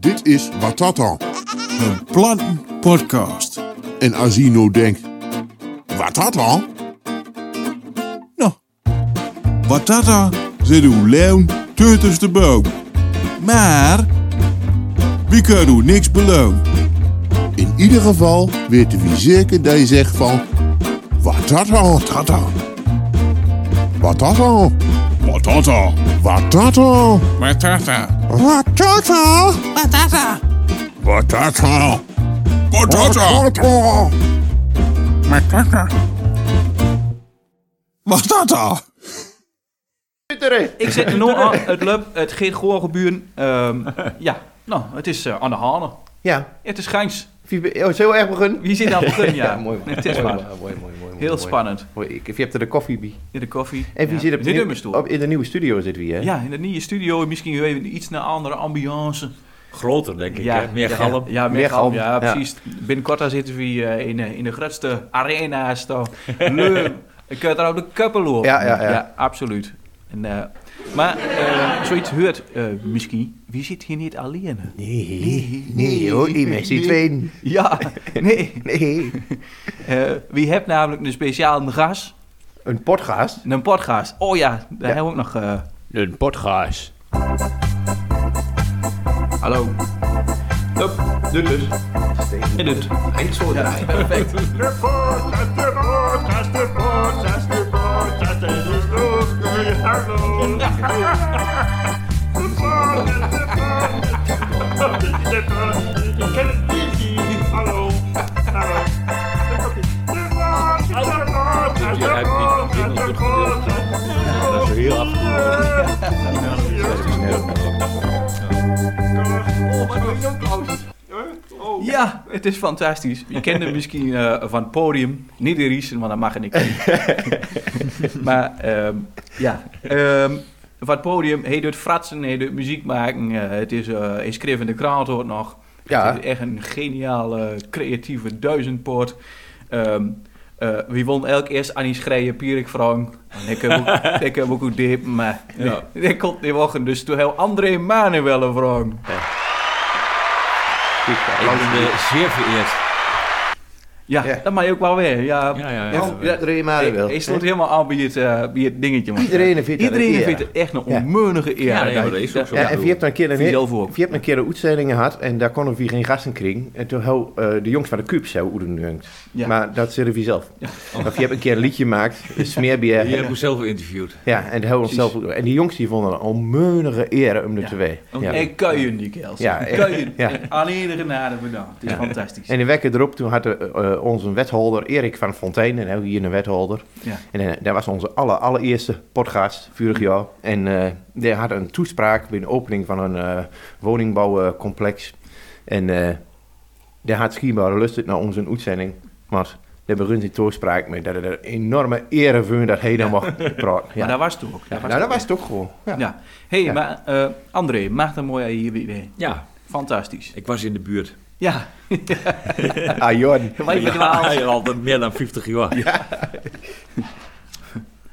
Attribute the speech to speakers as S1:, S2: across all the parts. S1: Dit is Wat dat dan?
S2: Een plantenpodcast.
S1: En Asino denkt, wat dat dan?
S2: Nou, Batata zit uw leeuw tussen de boom. Maar, wie kan u niks beloon?
S1: In ieder geval weten we zeker dat je zegt van, wat dat dan?
S2: Dat dan,
S1: Wat dat dan?
S2: Batata,
S1: Wat dat dan?
S2: Batata,
S1: Wat dat dan?
S2: Batata,
S1: Wat dat dan?
S2: Batata,
S1: Wat dat dan?
S2: Batata. Batata.
S3: Ik zit nou aan het lub, het geen gewoon gebeuren. Ehm, ja, nou, het is eh, aan de halen.
S4: Ja,
S3: Het is grijns.
S4: Fiebe- oh, zo erg begonnen.
S3: Wie zit aan het begin? Ja,
S4: mooi man.
S3: Het is
S4: mooi,
S3: waar.
S4: man. Mooi, mooi, mooi, mooi,
S3: Heel
S4: mooi.
S3: spannend.
S4: Mooi, ik, je hebt er de koffie bij.
S3: In de koffie.
S4: En wie
S3: Ja.
S4: zit op de, oh,
S3: Zit in
S4: nieuw-
S3: mijn stoel.
S4: op- in de nieuwe studio zit wie, hè?
S3: Ja, in de nieuwe studio. Misschien even iets naar andere ambiance.
S5: Groter, denk ik.
S3: ja,
S5: hè? Meer
S3: ja,
S5: galm.
S3: Ja, meer,
S4: Meer
S3: galm.
S4: galm,
S3: Ja,
S4: ja.
S3: precies. Binnenkort dan zitten we eh, in, eh, in de grootste arena's. toch. Leuk. Ik kan er op de koppel lopen.
S4: Ja, ja, ja.
S3: absoluut. En, eh, maar eh, zoiets hoort eh, misschien. Wie zit hier niet alleen?
S4: Nee, nee, hoor, die met z'n tweeën.
S3: Ja, nee.
S4: Nee.
S3: Eh, wie hebt namelijk een speciale gast,
S4: Een podcast?
S3: een podcast. Oh ja, daar hebben we ook nog. eh,
S5: Een podcast.
S3: hallo. Hup, dit dus. En dit. Ja, perfect.
S5: Dat is heel af.
S3: Ja, het is fantastisch. Je kent hem misschien eh, van het podium. Niet de Riesen, want dat mag ik niet. maar ehm, ja, ehm, van het podium. Hij doet fratsen, hij doet muziek maken. eh, het is, eh hij schreef in de krant ook nog.
S4: Ja.
S3: Het is echt een geniale, creatieve duizendpoort. Ehm eh, we won elk eerst Annie Schreijen, Pierik Frank. En Ik heb ook, ik heb ook goed diep, maar ja. ik kon die ochtend dus toen heel André Manuel Frank.
S5: Ik ben eh, zeer vereerd.
S3: Ja,
S4: Ja.
S3: dat mag je ook wel weer. Ja,
S5: Ja, ja, ja.
S3: Oh, ja.
S4: Iedereen maar
S3: Hij-
S4: wel.
S3: Hij stond helemaal aan bij het, eh, bij het dingetje. Man.
S4: Iedereen vindt dat
S3: Iedereen
S4: een eer.
S3: vindt het echt een
S4: Ja.
S3: onmeunige eer.
S5: Ja, nee, maar dat is ook zo.
S4: Ja, en je hebt dan een keer een,
S3: Viel
S4: heel-
S3: voor.
S4: wie hebt een keer een uitzending gehad en daar konden we geen gasten krijgen. En toen heel, eh, de jongens van de Cube zo oedenhungt.
S3: Ja.
S4: Maar dat zullen we zelf. Of je hebt een keer een liedje gemaakt, een smeerbier.
S5: Je hebt mezelf geïnterviewd.
S4: Ja, en de heel onszelf. En die jongens die vonden een onmeunige eer om de
S3: Ja.
S4: twee.
S3: Ja. En kuien die kels.
S4: Ja,
S3: En kuien.
S4: ja.
S3: En Aan iedere genade bedankt. Het is fantastisch.
S4: En de wekker erop, toen had eh, eh, onze wethouder Erik van Fontein, en nou, hier een wethouder.
S3: Ja.
S4: En eh, dat was onze aller, allereerste podcast, vorig jaar. En eh die had een toespraak bij de opening van een eh, woningbouwcomplex. En eh daar had schijnbaar lustig naar onze uitzending. Maar daar begon die toespraak mee. Dat het een enorme ere voor dat hij daar mocht praten. Ja.
S3: Maar daar was het ook. Daar was
S4: nou,
S3: het
S4: dat
S3: ook.
S4: was toch gewoon. Ja.
S3: Ja. hey,
S4: Ja.
S3: maar eh, André, maak dat mooi hier weer weer.
S5: Ja,
S3: Fantastisch.
S5: ik was in de buurt.
S3: Ja.
S4: Ah, Jorn.
S3: Wij
S5: ja,
S3: verdwaald.
S5: ja, al meer dan 50 jaar.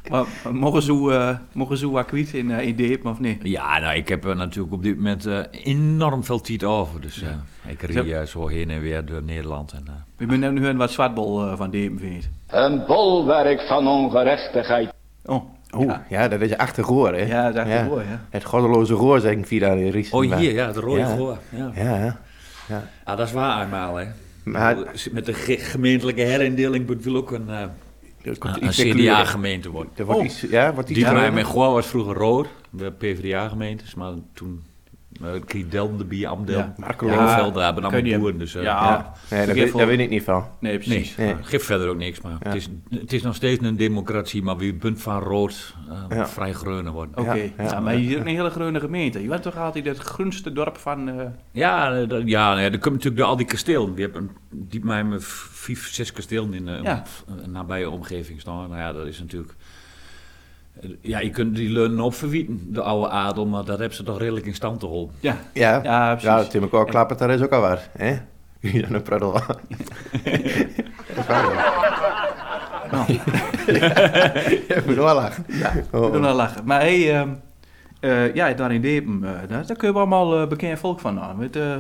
S3: Maar maar Mogen ze, eh, mogen ze wat kwijt in, eh, in Deep of nee?
S5: Ja, nou, ik heb eh, natuurlijk op dit moment eh, enorm veel tijd over. Dus eh, ik rijd eh, zo heen en weer door Nederland. En, eh,
S3: We moeten nu een wat zwartbol eh, van Deep vindt.
S6: Een bolwerk van ongerechtigheid.
S3: Oh.
S4: Oeh, ja. dat is achtergoor, hè?
S3: Ja, dat is achtergoor, ja.
S4: Het goddeloze roer, zeg ik via de Ries.
S5: Oh,
S4: Maar-
S5: hier, ja, het rode
S4: Ja.
S5: goor. Ja.
S4: Ja,
S5: Ah, dat is waar, eenmaal, hè.
S4: Maar-
S5: Met de ge- gemeentelijke herindeling moet wel ook een, eh,
S4: er komt
S5: een
S4: iets meer kleur in.
S5: CDA-gemeente worden.
S4: Er wordt
S3: Oh.
S4: iets, ja, wordt iets
S5: Die
S4: kleurder.
S5: bij mijn Goa was vroeger rood, bij PvdA-gemeentes, maar toen uh, kreeg Delm de bier, Amdelm.
S3: Ja.
S5: Ja.
S4: Marco
S3: Ja.
S5: Velden daar hebben
S3: Kun je
S5: allemaal
S3: hem-
S5: boeren, dus eh,
S3: Ja.
S5: ja.
S4: Nee, daar,
S3: Vergeef
S4: weet-
S3: wel.
S4: daar weet ik niet van.
S3: Nee,
S5: Nee,
S3: precies.
S4: Nee.
S5: geeft verder ook niks, maar
S4: Ja.
S5: het, is, het is nog steeds een democratie, maar wie bent van rood eh,
S4: Ja.
S5: vrij groener worden.
S3: Oké,
S4: Ja, ja.
S3: Ja, maar hier is ook een hele groene gemeente. Je bent toch altijd het groenste dorp van... eh,
S5: Ja, eh, dat- ja, nou ja, dan komt natuurlijk door al die kastelen. Die hebben die mij me vijf, zes kastelen in eh,
S3: Ja.
S5: een een nabije omgeving staan. Nou ja, dat is natuurlijk... eh, Ja, je kunt die leunen opverwieten, de oude adel, maar dat hebben ze toch redelijk in stand te houden.
S3: ja.
S4: Ja,
S3: Ja,
S4: ja,
S3: precies.
S4: ja Tim Koor klappert daar is ook al waar. Hè? Wie dan een pruddel was. Ja, moet wel lachen.
S3: We doen
S4: Oh.
S3: wel nou lachen. Maar mm, nou, hey, ehm, eh, ja, daar in Depen, eh, daar, daar kun je allemaal eh, bekend volk van aan. Met, eh,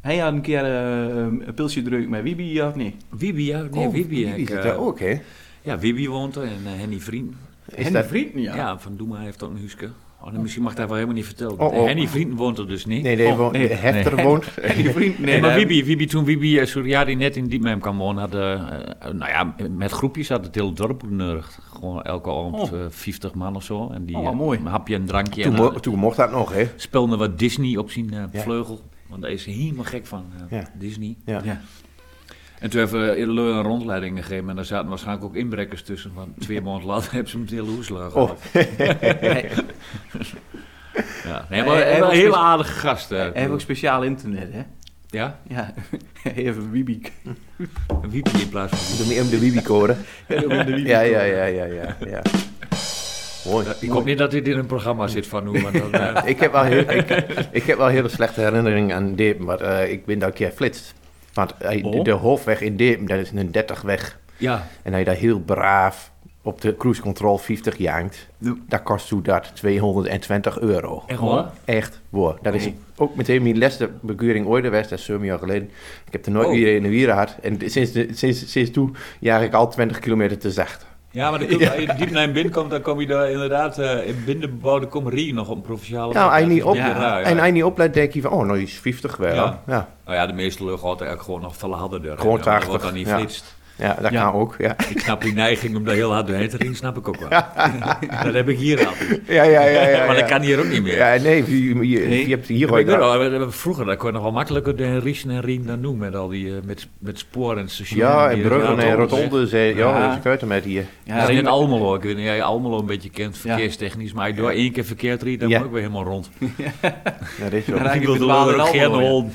S3: Hij had een keer eh, een pilsje druk met Wibi, ja, of niet?
S5: Wiebe, ja. Nee,
S4: Oh,
S5: Wiebe.
S4: Wiebe
S5: ik,
S4: zit
S5: eh,
S4: daar ook, hè?
S5: Ja, Wiebe woont er en eh, Henny Vriend.
S4: Is
S3: Henny
S4: dat...
S3: Vriend,
S5: Ja.
S3: ja.
S5: Van Doema heeft ook een huisje. Oh, nee, misschien mag ik dat wel helemaal niet vertellen.
S4: Oh, oh.
S5: Henny Vriend woont er dus niet.
S4: Nee, nee,
S3: Oh,
S4: woont-
S3: nee.
S4: Hefter
S5: Nee.
S4: woont.
S3: Henny Vriend, nee.
S5: Nee, maar
S3: dat-
S5: Wibi, Wibi, toen Wibi eh, Suriadi net in Diepmeem kwam wonen, had, eh, eh, nou ja, met groepjes had het hele dorp genurgd. Gewoon elke avond
S3: Oh.
S5: eh, 50 man of zo. En die
S3: Oh, wat
S5: eh,
S3: mooi.
S5: een hapje en drankje.
S4: Toen,
S5: en,
S4: mo-
S5: eh,
S4: toen mocht dat nog, hè?
S5: speelde wat Disney op zijn eh,
S4: Ja.
S5: vleugel. Want daar is hij helemaal gek van, eh,
S4: Ja.
S5: Disney.
S4: Ja.
S3: Ja.
S5: En toen hebben we Leu een rondleiding gegeven en daar zaten waarschijnlijk ook inbrekkers tussen. Want twee maanden later hebben ze hem het hele hoes laten
S4: Oh.
S5: gehad. Ja. Nee, maar
S3: Hij- hij
S5: een
S3: was
S5: hele
S3: best-
S5: aardige gast. eh,
S3: Hij heeft ook speciaal internet, hè?
S5: ja,
S3: Ja, even Wibi.
S5: een wiepje in plaats van...
S4: Doe me om de Wiebicode.
S3: ja,
S4: Ja, ja, ja, ja, ja. ja. Mooi.
S5: Ik hoop niet dat dit in een programma zit van hoe, want dan... eh,
S4: Ik heb wel, heel, ik, ik heb wel hele slechte herinneringen aan Depen, maar eh, ik ben daar een keer flitst. Want eh, de,
S5: Oh.
S4: de hoofdweg in Depen, dat is een 30 weg.
S5: ja,
S4: En hij daar heel braaf op de cruise control 50 jankt. Dat kost hoe dat 220 euro.
S5: echt Oh. hoor.
S4: Echt, wow. Dat is ook meteen mijn laatste bekeuring ooit geweest, dat is zeven jaar geleden. Ik heb er nooit
S5: Oh.
S4: weer in de wieren gehad. En sinds, de- sinds, sinds toen jaag ik al 20 kilometer te zacht.
S5: Ja, maar dan kom je- als je diep naar een bin komt, dan kom je daar inderdaad eh, in binnenbebouwde komerie nog op een provinciale...
S4: Nou,
S5: plek.
S4: als je niet op,
S5: Ja, raar, ja.
S4: en als je niet oplet, denk je van, oh, nou is 50 wel.
S5: Ja.
S4: Ja, ja,
S5: Nou ja, de meeste lucht hadden eigenlijk gewoon nog veel harder door.
S4: Gewoon
S5: En dan
S4: 80,
S5: wordt dan niet
S4: ja.
S5: flitst.
S4: dat
S3: Ja.
S4: kan ook. Ja,
S5: Ik snap die neiging om daar heel hard doorheen te ringen, snap ik ook wel. dat heb ik hier al.
S4: ja, ja. ja, ja,
S5: maar dat
S4: ja.
S5: kan hier ook niet meer.
S4: Ja, nee, je, je, je
S3: Nee.
S4: hebt hier
S5: Maar ik
S4: ooit...
S5: weet wel, we- we- vroeger dat kon je nog wel makkelijker de Riesen en Riem dan doen met al die eh, met, met sporen en stations.
S4: Ja,
S5: die
S4: en bruggen en
S5: rotondes.
S4: rotondes. En, ja,
S3: Ja.
S4: dat is ik uit hem met hier.
S5: dat is
S3: Riem-
S5: net Almelo. Ik weet niet, jij Almelo een beetje kent verkeerstechnisch, maar ik door één keer verkeerd riet, dan
S4: Ja.
S5: moet ik weer helemaal rond.
S4: Dat is zo.
S3: Ja,
S5: Ik
S3: ik
S5: wil
S3: vind
S5: door
S3: het wel
S5: ook
S3: een
S5: geen
S3: Almelo, ja.
S5: hol.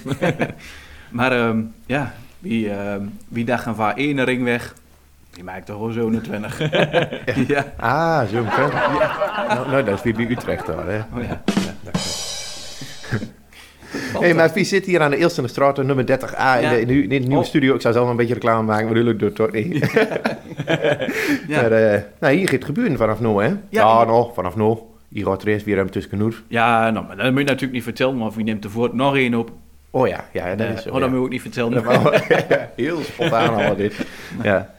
S3: Maar ehm, ja, wie, ehm wie dacht een van één ring weg, die maakt toch gewoon zo'n 20. ja.
S4: Ah, zo kan nou, nou, dat is weer bij Utrecht hoor. Hè.
S3: Oh, ja.
S4: Hey, maar wie zit hier aan de Eelstende straat, nummer 30A, in,
S3: Ja.
S4: de, in, de, in de nieuwe
S3: Oh.
S4: studio? Ik zou zelf een beetje reclame maken, maar dat lukt door toch niet.
S3: Ja.
S4: Maar, eh, nou, hier gaat het gebeuren vanaf nu, hè? Ja,
S3: hier-
S4: nou, vanaf nu. Hier gaat er eerst weer hem tussen genoeg.
S3: ja, nou, maar dat moet je natuurlijk niet vertellen, want wie neemt er voor nog één op?
S4: Oh ja, ja, dat
S3: Eh,
S4: is zo.
S3: oh, dat
S4: ja.
S3: moet je ook niet vertellen.
S4: Dat wou- Heel spontaan allemaal dit. Ja.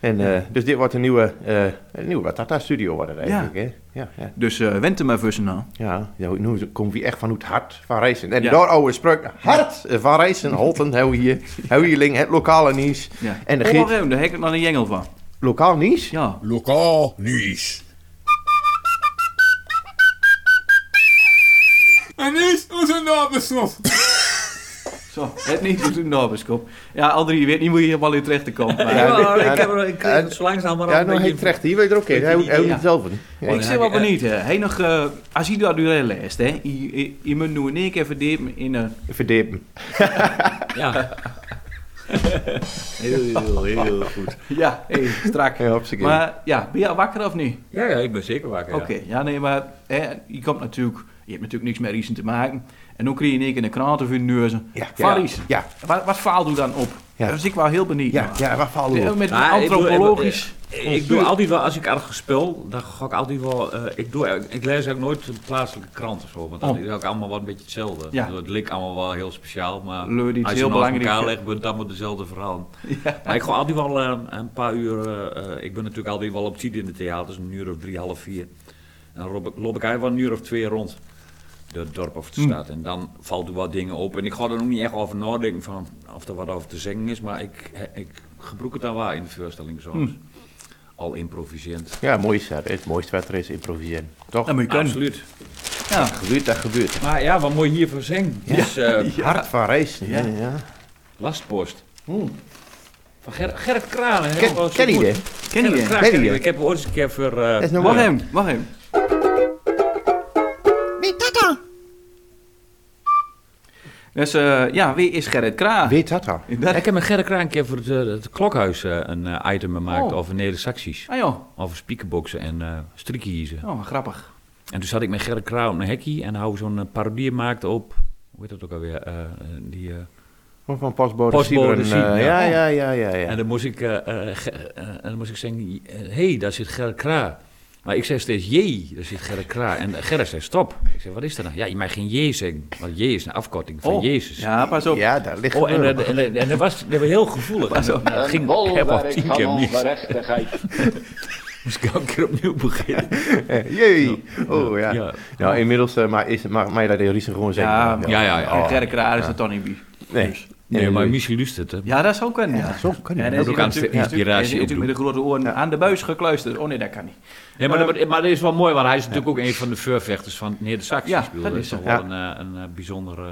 S4: En, eh, dus dit wordt een nieuwe, eh een nieuwe Watata-studio worden eigenlijk, hè? Ja, ja.
S3: Dus eh wend er maar vussen aan.
S4: Ja, nou, nu komt wie echt van het hart van Rijssen. En
S3: Ja.
S4: daar oude spreuk, hart van Rijssen, Holten, hou hier, hou hierling, het lokale nieuws.
S3: Ja.
S4: En de
S3: oh,
S4: gids-
S3: wacht even, daar heb ik nog een jengel van.
S4: Lokaal nieuws?
S3: Ja.
S1: Lokaal nieuws.
S2: En is onze naam beslot.
S3: Zo, het niet te doen, Norberskop. Ja, André, je weet niet hoe je helemaal in terecht komt. Maar... Oh,
S4: Ja,
S5: Ja,
S4: dit-
S5: ik heb er- ik
S4: ja,
S5: kreeg het zo langzamerhand
S4: Ja,
S5: een
S4: nou, hij
S5: beetje-
S4: terecht. Hier weet er ook in. Hij
S5: Ja.
S4: houdt het zelf in. Ja.
S3: Ik
S5: Ja,
S3: zeg wel
S5: ik- eh,
S3: benieuwd, hè. Hij nog, eh, als je dat nu leest, hè, je- je- je moet nu in één keer verdiepen in een...
S4: Verdepen.
S5: Ja. heel, heel goed.
S3: Ja, hey, strak.
S4: Ja, op z'n keer.
S3: maar ja, ben je al wakker of niet?
S5: Ja, ja, ik ben zeker wakker.
S3: Oké, ja, nee, maar hè, je komt natuurlijk... Je hebt natuurlijk niks met Riesen te maken. En dan krijg je in één keer een krant of een neuzen.
S4: Ja,
S3: Van
S4: ja.
S3: Riesen.
S4: Ja,
S3: Wat, wat faalt u dan op?
S4: Ja.
S3: Daar was ik wel heel benieuwd
S4: ja,
S3: naar.
S4: ja, waar vallen we
S3: Ja,
S4: op?
S3: Met
S5: Maar Ah, ik doe-
S3: antropologisch...
S5: Ik doe, ik doe altijd wel, als ik ergens speel, dan ga ik altijd wel. eh, ik, doe, ik lees ook nooit de plaatselijke krant of zo, want dat
S3: Oh.
S5: is ook allemaal wel een beetje hetzelfde.
S3: Ja.
S5: Dus Het lijkt allemaal wel heel speciaal, maar
S3: Leur iets
S5: als je
S3: heel
S5: nou naast
S3: belangrijk,
S5: elkaar
S3: hè?
S5: legt, ben je dan met dezelfde verhaal. Maar ik ga altijd wel eh, een paar uur. eh, eh, ik ben natuurlijk altijd wel op tijd in de theaters, een uur of drie, half vier. En dan loop ik- loop ik eigenlijk wel een uur of twee rond. Het dorp of
S3: Hm.
S5: de stad. En dan valt er wat dingen op. En ik ga er ook niet echt over nadenken van of er wat over te zeggen is. Maar ik, ik gebruik het dan waar in de voorstelling soms.
S3: Hm.
S5: Al improviserend.
S4: Ja, mooi is dat. Het mooiste wat er is, improviseren. Toch?
S3: Dat moet je kunnen.
S5: Absoluut.
S3: Ja.
S4: gebeurt, dat gebeurt.
S5: Maar ja, wat moet je hiervoor zeggen? Ja. Is eh,
S4: Hart van Rijssen. Ja, ja.
S5: lastpost. Van Ger- Gerrit Kraan. hè?
S4: Ken-
S5: Wel zo
S4: Ken je
S5: goed.
S4: dit?
S3: Hm. Ken je
S5: Gerrit
S3: die?
S5: Kraan,
S4: Ken
S5: ken
S4: je
S5: je.
S4: die?
S5: Ik heb ooit eens een keer voor... eh,
S4: Dat is nog
S3: Wacht
S4: wel-
S3: hem, wacht hem. Dus eh, ja, wie is Gerrit Kraa?
S4: Weet dat dan?
S3: Dat-
S5: Ik heb met Gerrit Kraan een keer voor het, eh, het klokhuis eh, een eh, item gemaakt
S3: Oh.
S5: over Neder-Saxisch.
S3: Ah joh,
S5: Over speakerboxen en eh strikkenhiezen.
S3: oh, wat grappig.
S5: En toen zat ik met Gerrit Kraan op een hekkie en hou zo'n eh, parodie maakte op... Hoe heet dat ook alweer? Eh, eh, die, eh,
S4: Van, van pasbode
S5: Postbode
S4: Siebren,
S5: Siebren,
S4: eh,
S5: ja.
S4: ja, ja, ja, ja. ja.
S5: eh, En dan moest ik, eh, eh, Ge- eh, en dan moest ik zeggen, hé, hey, daar zit Gerrit Kraa. Maar ik zeg steeds jee, daar zit Gerrit Kra. En Gerrit zegt stop. Ik zeg, wat is dat nou? Ja, je mag geen jee zeggen. Want jee is een afkorting van
S3: Oh,
S5: Jezus.
S3: Ja, pas op.
S4: Ja, daar ligt
S5: Oh, en,
S4: het.
S5: dat- en, dat- en dat was dat was heel gevoelig. En, dat- nou, dat ging
S6: Een
S5: helemaal
S6: bolwerk
S5: tien
S6: van
S5: keer mis.
S6: ongerechtigheid.
S5: Moest ik elke keer opnieuw beginnen.
S4: Jee. Oh ja.
S5: Ja.
S4: Nou, inmiddels eh, maar is, mag, mag je dat de Riesen gewoon zeggen.
S3: Ja,
S5: Ja, ja, ja.
S3: En Gerrit Kraar is het toch niet wie.
S4: Nee.
S5: Nee, maar Michel luistert, hè.
S3: Ja, dat zou kunnen. Ja,
S4: zo kan
S3: En
S4: je.
S3: hij
S5: ook
S3: zit
S5: aan
S3: natuurlijk-
S5: de inspiratie
S3: hij zit natuurlijk
S5: opdoen.
S3: met de grote oren aan de buis gekluisterd. Oh nee, dat kan niet.
S5: Nee, maar, dat- maar dat is wel mooi, want hij is natuurlijk ook een van de voorvechters van Neer de Sax.
S3: Ja,
S5: die speelde.
S3: dat
S5: Dat
S3: is
S5: is toch
S4: zo.
S5: wel een, eh, een eh, bijzonder... eh,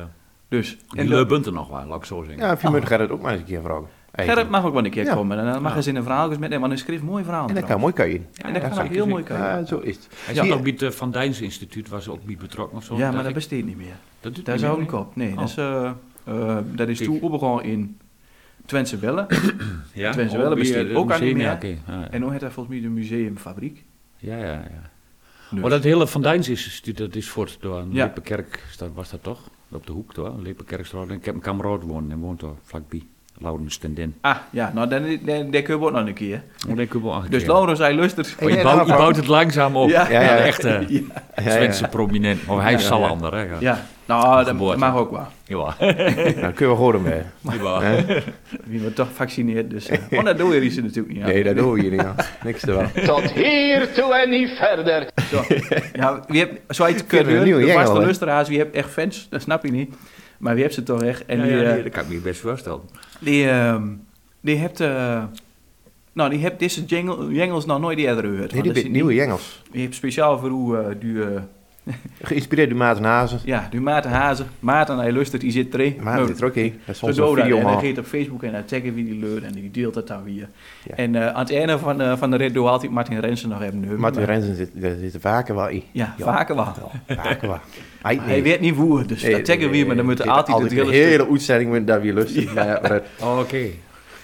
S3: Dus. En
S5: Die punten nog wel, laat ik zo zeggen.
S4: Ja, of je moet Gerrit ook maar eens een keer vragen.
S3: Gerrit mag ook wel een keer
S4: Ja.
S3: komen. En dan mag hij zijn verhaal eens met hem, want hij schreef mooie verhalen.
S4: En dat kan mooi kan je.
S3: En dat kan ook heel mooi komen.
S4: Ja, zo is het.
S5: Hij
S3: Ja.
S5: zat ook bij het eh, Van Dijns instituut, was ook bij betrokken of zo.
S3: Ja,
S5: dacht
S3: maar dat
S5: ik.
S3: besteedt niet meer.
S5: dat doet
S3: Daar
S5: hij
S3: zou ik
S5: niet
S3: niet op. Nee, dat
S5: Oh.
S3: is, eh, eh, dat is
S5: Kijk.
S3: toen opgegaan in Twentse Bellen.
S5: meer. Ja?
S3: Twente wel,
S5: Oh, bij,
S3: besteedt
S5: eh,
S3: ook aan niet
S5: museum,
S3: meer.
S5: Ja, oké.
S3: En nu heeft hij volgens mij de museumfabriek.
S5: ja, ja. ja, ja.
S3: Dus.
S5: Maar dat hele Van Dijns instituut, dat is voort door een
S3: Ja.
S5: Lippenkerk, is dat- was dat toch? Op de hoek, toch? Lippenkerkstraat. En Ik heb een kameraad wonen en woont daar vlakbij. Laurens ten Den.
S3: Ah, ja, nou, dan, dan, dan kunnen we ook nog een keer.
S5: Oh, dat kunnen we wel
S3: Dus
S5: aangekeerd.
S3: Laurens, hij lustert.
S5: Maar je,
S4: Ja,
S5: bouwt,
S4: daarvan.
S5: je bouwt het langzaam op.
S3: Ja.
S4: Ja,
S5: Ja,
S4: ja.
S5: een echte
S4: Ja, ja.
S5: Twentse prominent. Maar hij is
S3: Ja, ja.
S5: Salander, hè? Ja.
S3: Ja, nou, dat,
S5: Geboorte.
S3: mag ook wel.
S5: Ja.
S4: Dan kunnen we gewoon mee.
S5: Ja.
S3: Wie wordt toch vaccineerd, dus... eh, oh, dat doen we hier ze natuurlijk niet aan.
S4: Nee, dat doen we hier niet aan. Niks te wel.
S6: Tot hiertoe en niet verder.
S3: Ja, wie hebt, zo heet het
S4: Vinden we een
S3: kunnen doen,
S4: nieuwe
S3: de
S4: jingle,
S3: vaste
S4: hè?
S3: luisteraars, wie hebt echt fans, dat snap je niet. Maar wie hebt ze toch echt. En
S5: Ja,
S3: die,
S5: ja,
S3: eh,
S5: nee, dat kan ik me je best voorstellen.
S3: die, ehm, die hebt, eh, nou die hebt deze jingle, jingles nog nooit eerder gehoord.
S4: Nee, dit
S3: want dat
S4: is
S3: is
S4: nieuwe
S3: niet-
S4: jengels.
S3: Je hebt speciaal voor hoe eh die, eh,
S4: Geïnspireerd door Maarten Hazen.
S3: ja, die Maarten Hazen, Maarten hij luistert, die zit erin.
S4: Maarten
S3: Nou,
S4: zit er ook in. Dat is
S3: Zo
S4: onze
S3: doe dat. En dan
S4: videoman.
S3: geeft op Facebook en dan checken wie die leur en die deelt dat dan weer.
S4: Ja.
S3: En eh, aan het einde van, eh, van de rit doe altijd Martin Rensen nog even nummer.
S4: Martin Rensen zit, daar zitten vaker wel in.
S3: Ja,
S4: Ja.
S3: vaker wel.
S4: Vaker wel. Hij, Eh,
S3: Maar Hij weet niet hoe, dus dat checken we weer, maar dan moet er altijd het
S4: hele...
S3: hele
S4: hele uitzending moet daar weer lusten. Maar ja, maar-
S5: Oké.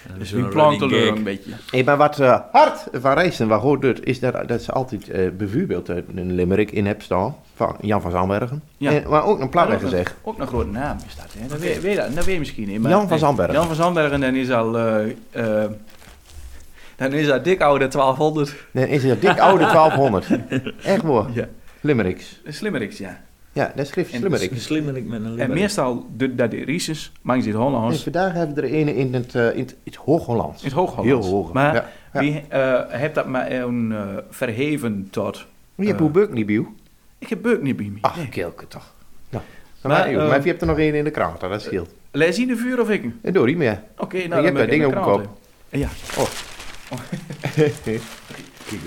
S5: Dat
S3: Dus
S5: is
S3: wie
S5: een
S3: plankt de
S5: running
S3: leur
S5: gag.
S3: een beetje.
S4: Hey, maar wat eh, hard van Rijssen, wat hoort het, is dat, dat ze altijd eh, bijvoorbeeld eh, een limerick in hebben staan van Jan van Zandbergen.
S3: Ja.
S4: En, maar ook een plat
S3: Ja,
S4: weg
S3: ook
S4: gezegd.
S3: een- Ook een grote naam is dat, hè? Dat, weet, weet dat, dat weet je misschien niet. Maar
S4: Jan van Zandbergen.
S3: Jan van Zandbergen, dan is al... eh, eh, dan is dat dik oude 1200.
S4: Dan is het dik oude 1200. Echt hoor.
S3: Ja.
S4: Limericks.
S3: Slimmeriks, ja.
S4: Ja, dat schrift
S3: En- dus-
S4: Limericks.
S5: Een slimmerik met een
S3: En
S5: limmerik.
S3: meestal de, dat de Rieses, maar zit
S4: En
S3: Hollands,
S4: vandaag hebben we er een in het, eh, in het, in het Hoog-Hollands.
S3: in het Hoog-Hollands.
S4: Heel hoog.
S3: Maar
S4: ja. ja.
S3: wie eh, heeft dat maar een, eh, verheven tot...
S4: Maar je hebt
S3: eh,
S4: hoe Beuk niet bij jou?
S3: Ik heb Beuk niet bij me.
S4: Ach,
S3: Nee.
S4: kelke toch. Nou, maar,
S3: Maar,
S4: maar,
S3: eh,
S4: je hebt er nog één in de krant, dat scheelt.
S3: Lees je de vuur of ik? hem?
S4: En door die meer.
S3: Oké, nou
S4: hebt
S3: dan ben
S4: dat
S3: ik
S4: ding
S3: in de
S4: ook
S3: krant,
S4: op.
S3: hè. Ja.
S4: Oh.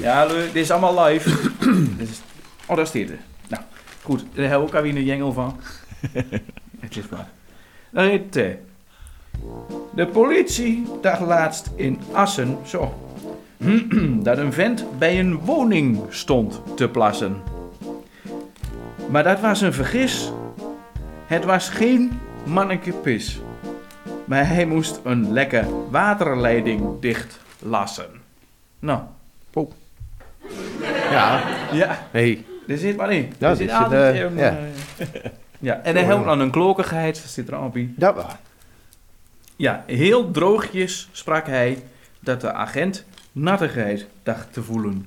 S3: ja, leu, dit is allemaal live. dit is, oh, daar staat er. Nou, goed. Daar hebben we ook alweer een jengel van. Het is waar. Dan heet eh, De politie dacht laatst in Assen zo... dat een vent bij een woning stond te plassen. Maar dat was een vergis. Het was geen mannekepis. Maar hij moest een lekke waterleiding dicht lassen. Nou,
S4: Ja,
S3: ja,
S4: nee.
S3: er zit maar in.
S4: Ja,
S3: er zit
S4: dit zit,
S3: altijd
S4: eh,
S3: een,
S4: ja.
S3: eh, ja, en hij helpt aan een klokigheid, zit er al bij.
S4: Dat was.
S3: Ja, heel droogjes sprak hij dat de agent nattigheid dacht te voelen.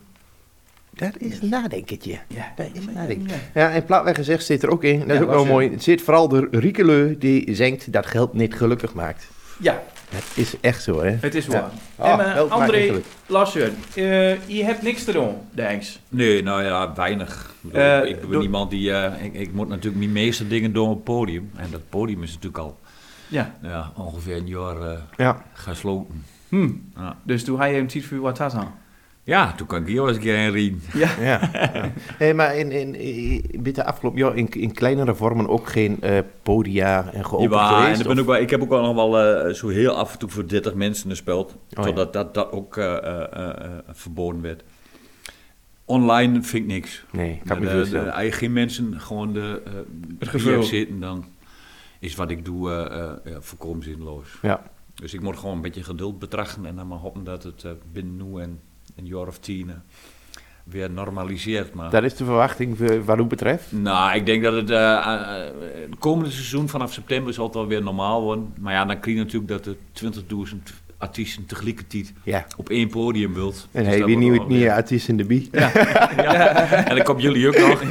S4: Dat is een nadenkertje.
S3: Ja,
S4: Dat is een nadenkertje. Ja, en platweg gezegd zit er ook in. Dat is
S3: Ja,
S4: ook wel
S3: was,
S4: mooi. Het zit vooral de Riekeleu die zingt dat geld niet gelukkig maakt.
S3: ja
S4: Dat is echt zo, hè?
S3: het is
S4: Ja.
S3: waar.
S4: Ah,
S3: en, eh,
S4: wel, maar
S3: André,
S4: eigenlijk.
S3: Lassen, eh, je hebt niks te doen, thanks.
S5: Nee, nou ja, weinig. Ik, bedoel,
S3: Eh,
S5: ik ben
S3: doe-
S5: iemand die... eh, ik, ik moet natuurlijk mijn meeste dingen doen op het podium. En dat podium is natuurlijk al
S3: Ja,
S5: nou ja, ongeveer een jaar eh,
S4: Ja.
S5: gesloten.
S3: hm.
S5: Ja.
S3: dus toen hij hem ziet voor wat was aan.
S5: Ja, toen kan ik hier wel eens een keer heen riem.
S3: Ja,
S4: Ja. ja. Hey, maar in, in, in, binnen de afgelopen jaar in, in kleinere vormen ook geen eh, podia en geopend
S5: Ja, en
S4: geweest?
S5: ik, ben
S4: of-
S5: ook wel, ik heb ook wel nog wel eh, zo heel af en toe voor 30 mensen gespeeld.
S4: Oh, ja.
S5: totdat dat, dat ook eh, eh, eh, verboden werd. Online vind ik niks.
S4: Nee, kan ik me niet
S5: de,
S4: voorstellen.
S5: de- Als je geen mensen gewoon de, eh het
S3: gevul.
S5: zitten, dan is wat ik doe eh eh, ja, volkomen zinloos.
S4: Ja.
S5: Dus ik moet gewoon een beetje geduld betrachten en dan maar hopen dat het eh, binnen nu en een jaar of tien eh, weer normaliseert. Maar
S4: Dat is de verwachting voor- wat u betreft.
S5: nou, ik denk dat het eh, eh, het komende seizoen vanaf september zal het wel weer normaal worden. Maar ja, dan krijg je natuurlijk dat de 20.000 artiesten tegelijkertijd
S4: Ja.
S5: op één podium wilt.
S4: En
S5: Dus
S4: hey,
S5: dat
S4: wie
S5: wordt
S4: nieuw
S5: wel
S4: niet
S5: weer-
S4: artiest in de bie.
S5: En dan komen jullie ook nog.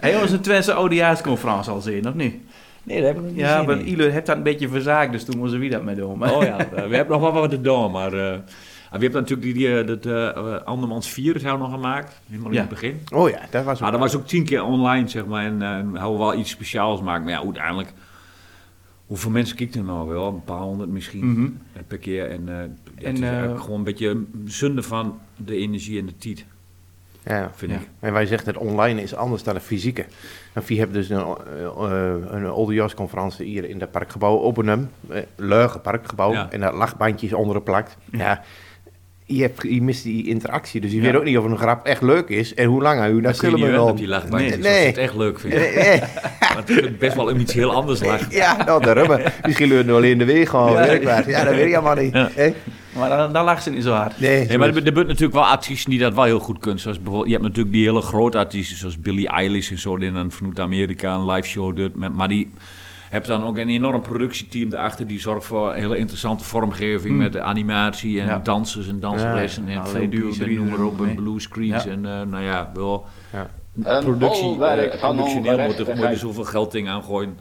S3: Hey, onze Twentse ODA's-conferentie al zien, of niet?
S5: Nee, dat hebben we niet
S3: Ja,
S5: gezien,
S3: want
S5: nee.
S3: Ilur heeft dat een beetje verzaakt, dus toen moesten we dat met doen.
S5: Oh ja, we hebben nog wel wat te doen, maar... eh, we hebben natuurlijk die, die, eh, dat eh eh, Andermans 4 zijn we nog gemaakt, helemaal
S3: Ja.
S5: in het begin.
S4: Oh ja, dat was
S5: Maar
S4: ook.
S5: Ah, dat was ook tien keer online, zeg maar. En eh hadden we wel iets speciaals maken. Maar ja, uiteindelijk... Hoeveel mensen kijken er nou wel? Een paar honderd misschien
S3: Mhm.
S5: eh, per keer. En, eh, ja,
S3: En,
S5: het is eigenlijk
S3: eh,
S5: gewoon een beetje zonde van de energie en de tijd,
S4: Ja.
S5: vind
S3: Ja.
S5: ik.
S4: En wij zeggen dat online is anders dan de fysieke. En vi hebben dus een, eh, eh, een oudejaarsconferentie hier in het parkgebouw Oppenheim. Eh, Leuge parkgebouw.
S5: Ja.
S4: En daar lachbandjes onder geplakt. Ja. Je, hebt, je mist die interactie, dus je
S3: Ja.
S4: weet ook niet of een grap echt leuk is. En hoe lang u dat
S5: Kun je
S4: zullen
S5: niet
S4: we
S5: wennen
S4: dan.
S5: op die lachbandjes,
S4: Nee.
S5: als je
S4: Nee.
S5: het echt leuk vindt.
S4: Eh, eh,
S5: Want ik vind best wel om iets heel anders lachen.
S4: ja, nou, daarom. hè. Misschien leuren we alleen de weg gewoon. Ja, ja dat weet ik allemaal niet.
S5: Ja.
S4: Eh,
S3: Maar dan, dan lag ze niet zo hard.
S4: Nee,
S5: Nee, maar er er zijn natuurlijk wel artiesten die dat wel heel goed kunnen. Zoals bijvoorbeeld, je hebt natuurlijk die hele grote artiesten, zoals Billie Eilish en zo, die dan vanuit Amerika een live show doet. met- Maar die hebben dan ook een enorm productieteam erachter, die zorgt voor een hele interessante vormgeving met animatie en
S3: Ja,
S5: dansers en danslessen en
S3: allerlei
S5: filmpjes en
S3: duo-
S5: noem maar op, en
S3: mee.
S5: blue screens
S3: Ja.
S5: en eh, nou ja, wel...
S4: Ja.
S6: Een
S5: Productie,
S6: bolwerk
S5: eh,
S6: van
S5: productioneel moet er- moet er
S6: ongerechtigheid.
S5: zoveel geld in aangooien.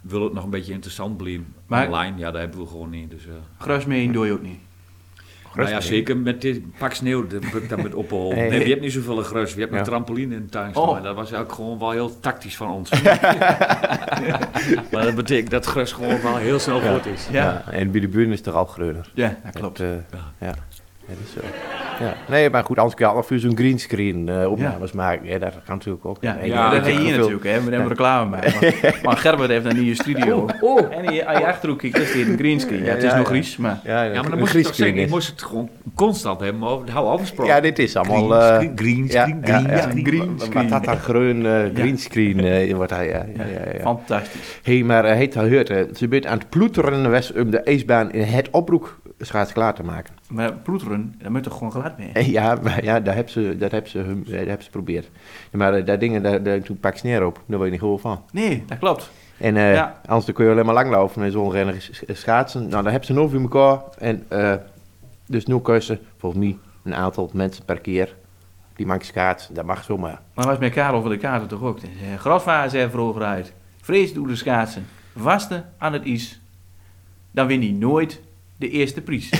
S5: Wil het nog een beetje interessant blijven.
S3: Maar-
S5: Online, ja, dat hebben we gewoon niet. Dus, eh.
S3: Gras mee doe je ook niet.
S5: Nou ja, zeker met dit pak sneeuw, dat bukt dat met opholen. Nee, we hebben niet zoveel grus, we hebben een
S4: Ja.
S5: trampoline in de tuin
S3: Oh.
S5: staan. Dat was ook gewoon wel heel tactisch van ons. maar dat betekent dat grus gewoon wel heel snel goed is.
S3: Ja, ja.
S4: Ja, En bij de buren is het toch al greuner.
S3: dat klopt.
S4: Dat, eh, ja. Ja, dat is zo. Ja. Nee, maar goed, anders kan je altijd voor zo'n greenscreen eh opnames maken. Ja, dat kan natuurlijk ook.
S3: Ja,
S4: Nee,
S5: ja,
S3: dat
S5: dat
S3: heb je
S4: kan
S3: hier
S4: veel.
S3: natuurlijk, hè. We hebben reclame bij. Maar, maar Gerber heeft dan in je studio. En hier, aan je achterhoek kijkt, is hier een greenscreen. Ja, het is
S4: Ja,
S3: nog
S4: ja.
S3: Ries, maar...
S4: Ja,
S5: Ja, maar
S4: een
S5: dan moest je toch
S4: greenscreen
S5: zeggen, je
S4: is-
S5: moest het gewoon constant hebben, maar hou afgesproken.
S4: Ja, dit is allemaal...
S5: Green
S4: eh,
S5: screen, green
S4: ja,
S5: screen,
S4: ja,
S5: green
S4: ja.
S5: screen.
S3: Greenscreen.
S4: Wat dat dan groen eh, greenscreen eh, wordt hij, ja. ja,
S3: Ja,
S4: ja, ja.
S3: Fantastisch.
S4: hey, maar eh, heet al gehoord, eh, ze bent aan het ploeteren was om de ijsbaan in het oproek schaats klaar te maken.
S3: Maar ploeteren, daar moet toch gewoon glad mee.
S4: Eh, Ja, maar ja, dat hebben ze, dat hebben ze, hun- eh, dat hebben ze geprobeerd. Maar eh, dat dingen, daar, daar toen pak sneer op, daar word je niet goed van.
S3: Nee, dat klopt.
S4: En eh,
S3: Ja.
S4: anders dan kun je alleen maar langlopen met zo'n renner sch- schaatsen. Nou, daar hebben ze nog voor elkaar. En eh, dus nu kun je ze, volgens mij, een aantal mensen per keer. Die maken schaatsen, dat mag zomaar.
S3: Maar was met Karel van de Kaarten toch ook. Eh, Grotvaar zei vroeger uit. Vrees doe de schaatsen. Vasten aan het is. Dan win hij nooit de eerste prijs.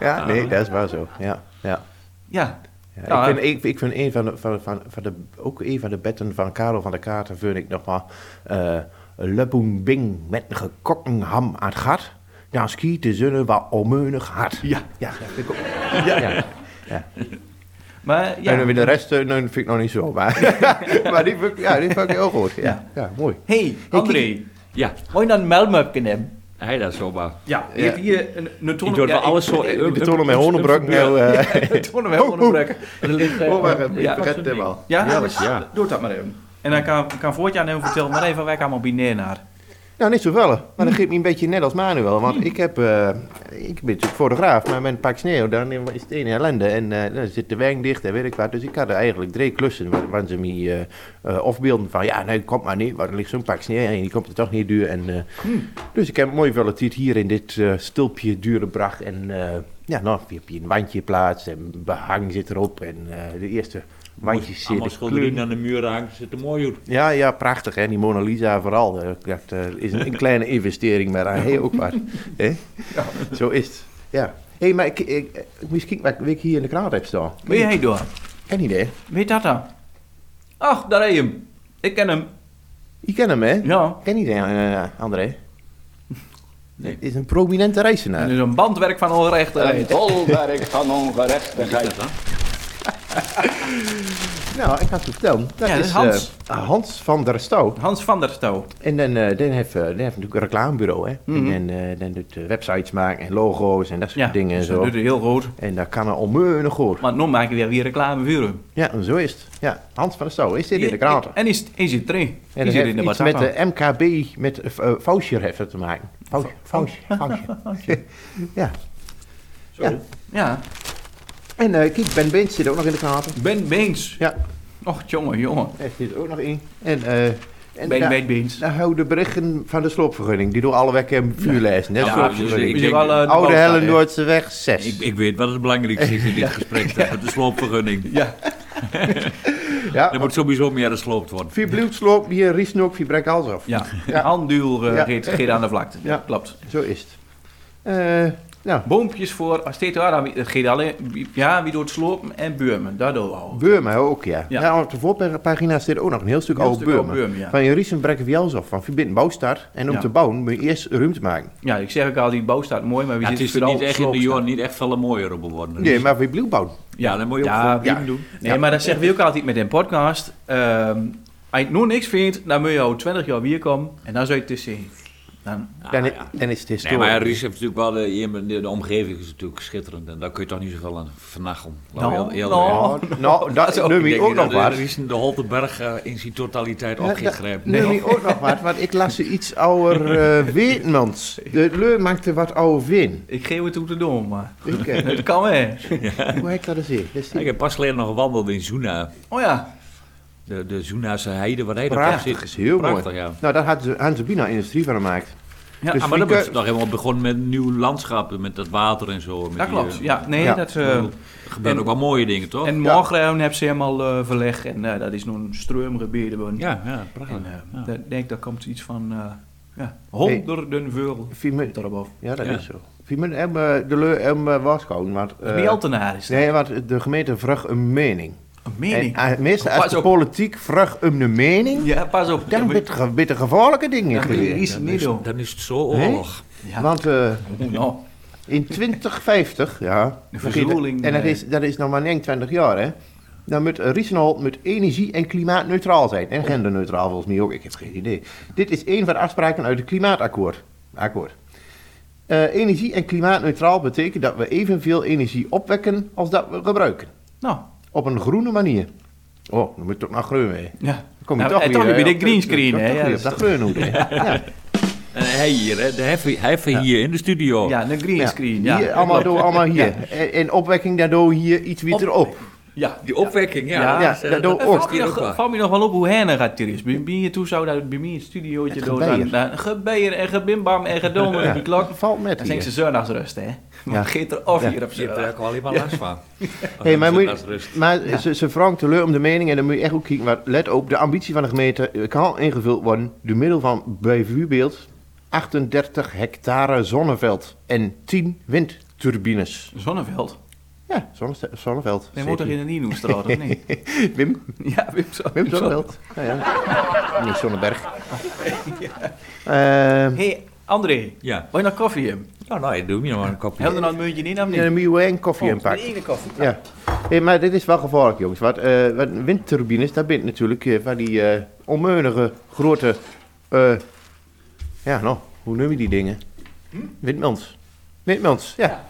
S4: Ja, nee, dat is wel zo. Ja, ja.
S3: Ja.
S4: ja.
S3: Nou,
S4: ik, vind, ik, ik vind een van de, van, van, van de, ook een van de betten van Karel van der Kaarten, vind ik nog maar eh Leboen Bing met een gekokken ham aan het gat. Dan skiet de zonne wat onmeunig hard. Ja, ja, dat vind ik ook. Ja, ja.
S3: Maar
S4: En dan
S3: ja.
S4: weer de rest eh, nee, vind ik nog niet zo. Maar, maar die, vind ik, ja, die vind ik heel goed. Ja, ja. mooi.
S3: Hey, André.
S5: Ja,
S3: Mooi naar een melmup kunnen hebben.
S5: hij dat zomaar.
S3: Ja, je
S4: Ja.
S3: hebt hier een, een ton...
S5: Ik doe het wel alles zo.
S4: Ik betonnen met honenbrok. nou, eh,
S3: Een ton wel onderbreken. Er ligt, eh,
S4: Oh, wacht even.
S3: ja.
S4: Ik vergeet het helemaal.
S3: Ja,
S4: Heerlijk,
S3: dus
S4: ja.
S3: doe dat maar even. En dan kan, kan Voortje aan hem vertellen, maar even, wij gaan allemaal binair naar.
S4: Nou, niet zoveel. Maar
S5: Hmm.
S4: dat geeft me een beetje net als Manuel. Want ik, heb, eh, ik ben natuurlijk fotograaf, maar met een pak sneeuw dan is het een ellende. En eh, dan zit de wijn dicht en weet ik wat. Dus ik had er eigenlijk drie klussen waar, waar ze me eh, eh, afbeelden van... Ja, nee, komt maar niet, want er ligt zo'n pak sneeuw en die komt er toch niet duur. En, eh,
S5: Hmm.
S4: Dus ik heb mooi veel tijd hier in dit eh, stulpje Durenbracht. En eh, ja, nou, je hebt hier een wandje plaats en behang zit erop. En eh, de eerste wandjes
S5: Allemaal
S4: zitten
S5: schilderijen aan de muur hangen, zit er mooi uit.
S4: ja, ja, prachtig hè. Die Mona Lisa vooral. eh, Dat eh, is een, een kleine investering, maar hij ook wat. hè? Zo is het. Ja. Hé, hey, maar ik, ik, ik moest kijken wat ik hier in de kraan heb staan.
S3: Wil je heen door?
S4: Geen idee.
S3: Weet dat dan? Ach, daar heb je hem. Ik ken hem.
S4: Je kent hem, hè?
S3: Ja.
S4: Ken idee, eh André.
S5: Nee.
S4: Het is een prominente reizenaar.
S3: Dat is een bandwerk van
S6: Een
S3: onrecht.
S6: bolwerk van ongerechtigheid.
S4: Nou, ik ga het je vertellen. Dat
S3: Ja, dat
S4: is
S3: is Hans.
S4: eh, Hans van der Stouw.
S3: Hans van der Stouw.
S4: En dan, eh, dan, heeft, eh, dan heeft natuurlijk een reclamebureau, hè? En eh, dan doet eh, websites maken en logo's en dat soort
S3: Mhm. Ja,
S4: dingen en
S3: dus
S4: zo.
S3: dat doet hij heel goed.
S4: En dat kan er onmeunig goed.
S3: Maar nu maak je weer, weer reclame voor hem.
S4: Ja, en zo is het. Ja, Hans van der Stouw is dit in de
S3: Ik-
S4: kraten.
S3: ik- En is, is het
S4: En
S3: erin? is
S4: dat
S3: het
S4: heeft
S3: in de
S4: iets
S3: WhatsApp?
S4: met de MKB, met eh, eh, Voucher heeft het te maken. Voucher,
S3: Oh,
S4: Voucher, Voucher. ja. Ja.
S3: Ja,
S4: En eh kijk, Ben Beens zit ook nog in de kraten.
S3: Ben Beens.
S4: Ja,
S3: Och, jongen, jongen.
S4: er zit ook nog in. En eh, En
S3: Ben
S4: daar-
S3: met beens.
S4: daar houden de berichten van de sloopvergunning, die door alle wekken vuur lezen. Net
S5: Ja,
S4: zoals-
S5: dus ik-
S3: Moet je
S5: denk-
S3: wel, eh, de
S4: Oude
S3: boot staan, hè?
S4: Hellendoordseweg 6.
S5: Ik, ik weet wat het belangrijkste is in dit gesprek. Dat is de sloopvergunning.
S3: Ja,
S5: Er
S4: ja,
S5: moet sowieso meer gesloopt worden.
S4: vier bloedsloop, hier riesen ook, vier brek alles af.
S3: ja. een handduel eh,
S4: Ja.
S3: reed Geert aan de vlakte.
S4: Ja.
S3: Klopt.
S4: Zo is het. Eh, nou,
S3: Boompjes voor Astetoara, het gaat alleen, ja, wie doet slopen en Beurmen, daardoor al.
S4: Burma ook, ja.
S3: Ja.
S4: Nou, op de voorpagina staat ook nog een heel stuk
S3: Heel
S4: oude
S3: stuk oude
S4: Burma.
S3: Burma, ja.
S4: Van je riesen brekken we alles af, van je bent bouwstart. En om
S3: Ja.
S4: te bouwen moet je eerst ruimte maken.
S3: Ja, ik zeg ook al, die bouw staat mooi, maar wie
S5: Ja, het
S3: zit
S5: is er
S3: vooral
S5: niet
S3: op
S5: echt in de
S3: sloopstaan?
S5: jaren niet echt veel mooier op geworden.
S4: Nee, maar we blijven bouwen.
S5: Ja, dan moet je ook
S3: Ja,
S5: gewoon
S3: ja.
S5: prima doen.
S3: Nee, maar dat zeggen we ook altijd met een podcast. Ehm, als je nog niks vindt, dan moet je al 20 jaar weer komen en dan zou je het dus zien. Dan,
S4: Dan,
S5: Ah,
S4: dan
S5: ja.
S4: is het
S5: Nee,
S4: historisch.
S5: maar Ries heeft natuurlijk wel de, hier- de, de omgeving is natuurlijk schitterend en daar kun je toch niet zoveel aan vernachelen. Laten we
S3: Nou,
S5: heel-
S3: nou.
S5: heel-
S4: Oh, nou, dat
S5: Ik
S4: neem
S5: denk
S4: ik ook nog
S5: dat de
S4: wat.
S5: Ries de Holtenberg eh, in zijn totaliteit
S4: Ja, dat
S5: opgegrepen.
S4: Neem ik ook nog wat, want ik las ze iets ouder eh Weetmans. De Leur maakte wat oude win.
S3: ik geef het hoe te doen, maar
S4: Ik, eh,
S3: dat kan hè.
S4: hoe heet dat eens hier? Dat is
S5: Ik
S4: die
S5: heb pas geleden nog gewandeld in Zoena.
S3: Oh ja,
S5: De, de Zoenase heide, waar hij daar
S4: prachtig, is heel
S5: Prachtig,
S4: mooi.
S5: ja.
S4: Nou, daar had ze- hadden ze bijna industrie van gemaakt.
S3: Ja,
S4: dus
S5: Ah, maar dan
S4: Frieke-
S5: ben je toch helemaal begonnen met een nieuw landschap, met dat water en zo. Met
S3: dat
S5: die,
S3: klopt.
S5: eh,
S3: Ja, nee,
S4: Ja.
S3: dat...
S5: ik
S3: eh,
S5: bedoel, Er gebeuren
S3: en-
S5: ook wel mooie dingen, toch?
S3: en morgen hebben ze helemaal eh, verleg en eh, dat is nog een stroomgebied.
S5: ja, ja, prachtig.
S3: En eh,
S5: Ja.
S3: daar- denk daar komt iets van eh, ja, honderden veel
S4: Vier min-
S3: daarboven.
S4: Ja, dat
S5: Ja.
S4: is zo. Vier min- en, eh, de Leur en eh, Warschau, want, eh,
S3: Niet al te naar is dat.
S4: Nee, want de gemeente vraagt een mening.
S3: Een mening.
S4: En, eh, meestal
S3: Pas
S4: als de
S3: op.
S4: politiek vraagt om een mening,
S3: ja, pas op.
S4: dan
S3: ja,
S4: bit ge- bit er gevaarlijke dingen
S3: maar- ja, maar die
S4: geleerd.
S3: is het niet doen.
S5: Dan is het zo oorlog.
S3: Ja.
S4: Want eh,
S3: Oh, nou.
S4: in 2050, ja.
S3: De verzoening,
S4: En dat
S3: eh.
S4: is, dat is nog maar 29 jaar, hè. Dan moet Riesenhal moet energie- en klimaatneutraal zijn. En genderneutraal volgens mij ook, ik heb geen idee. Dit is een van de afspraken uit het klimaatakkoord. Akkoord. Eh, energie- en klimaatneutraal betekent dat we evenveel energie opwekken als dat we gebruiken.
S3: Nou,
S4: Op een groene manier. Oh, dan moet toch nog groen mee.
S3: ja.
S4: Dan kom je
S3: Nou,
S4: toch
S3: en
S4: weer,
S3: toch weer
S4: eh,
S3: bij
S4: op-
S3: de green screen,
S4: toch
S3: hè?
S4: weer
S3: Ja,
S4: op dat groenhoede, hè. Ja.
S5: En hij hier, hè, de heffer, heffer hier in de studio.
S3: Ja, een green screen. Ja,
S4: Hier, allemaal, door, allemaal hier. En, en opwekking daardoor hier iets wieter op.
S3: Ja.
S5: Die opwekking, ja.
S3: Ja,
S5: dat is,
S4: ja, Oh,
S5: eh,
S4: dat doe
S5: dat
S4: ik
S5: is
S4: ook.
S5: hier
S3: Valt me nog-
S5: waar.
S3: Valt me nog wel op hoe Herne gaat thuis. Bij bij je toe zou dat bij mij in het studiootje
S4: Het
S3: door
S4: gebeier.
S3: dan- dan gebeier en gebimbam en gedomme
S4: Ja.
S3: en die klok.
S4: Valt met
S3: Dan zijn ze
S4: hier.
S3: zondagsrust, hè?
S4: Ja.
S3: Maar geet er af
S4: Ja.
S3: hier op
S5: Je hebt
S3: zondag.
S5: er eigenlijk wel helemaal last van.
S4: Hey, maar moet je-
S5: Dat is rust.
S4: maar ze, ze vraagt teleur om de mening en dan moet je echt ook kijken. Maar let op, de ambitie van de gemeente eh, kan ingevuld worden door middel van bijvoorbeeld 38 hectare zonneveld en 10 windturbines.
S3: Zonneveld.
S4: Ja, zonne- zonneveld.
S3: Nee, moet er in de Nienhoestraat, of niet?
S4: Wim,
S3: Ja, Wim zo.
S4: Wim Zonneveld. Ja, ja. Niet Zonneberg. Eh,
S3: Hé, hey, André.
S5: Ja.
S3: Wil je nog koffie hebben?
S5: Nou, nou, doe me nog maar een kopje.
S3: Heb je er nou een muntje in, of niet?
S4: en dan moet je een koffie
S3: Oh,
S4: inpakken.
S3: de ene koffie.
S4: Ja, Hey, maar dit is wel gevaarlijk, jongens. Want, eh, want windturbines, daar bent natuurlijk eh, van die eh onmeunige grote. eh, ja, nou, hoe noem je die dingen?
S5: Hm?
S4: Windmans. Windmans, ja.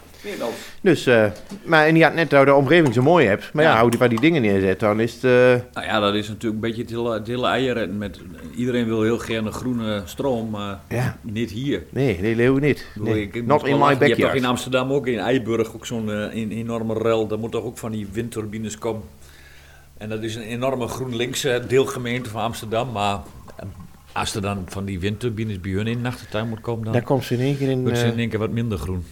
S4: Dus, eh, maar en die had net dat de omgeving zo mooi hebt. Maar ja,
S5: Ja.
S4: hou die waar die dingen neerzet, dan is het. eh,
S5: Nou ja, dat is natuurlijk een beetje het hele, het hele eieren. Met, iedereen wil heel gerne groene stroom, maar
S4: ja,
S5: niet hier.
S4: nee, nee, leeuw niet.
S5: Ik bedoel,
S4: Nee,
S5: ik- ik
S4: Not
S5: moet wel
S4: in my
S5: lachen. Je hebt
S4: backyard.
S5: toch in Amsterdam ook, in Eiburg, ook zo'n eh, een- enorme rel. Daar moet toch ook van die windturbines komen. En dat is een enorme GroenLinks eh, deelgemeente van Amsterdam. Maar eh, als er dan van die windturbines bij hun in de achtertuin moet komen, dan
S4: Daar komt ze in één keer in.
S5: wordt ze
S4: eh,
S5: in één keer wat minder groen.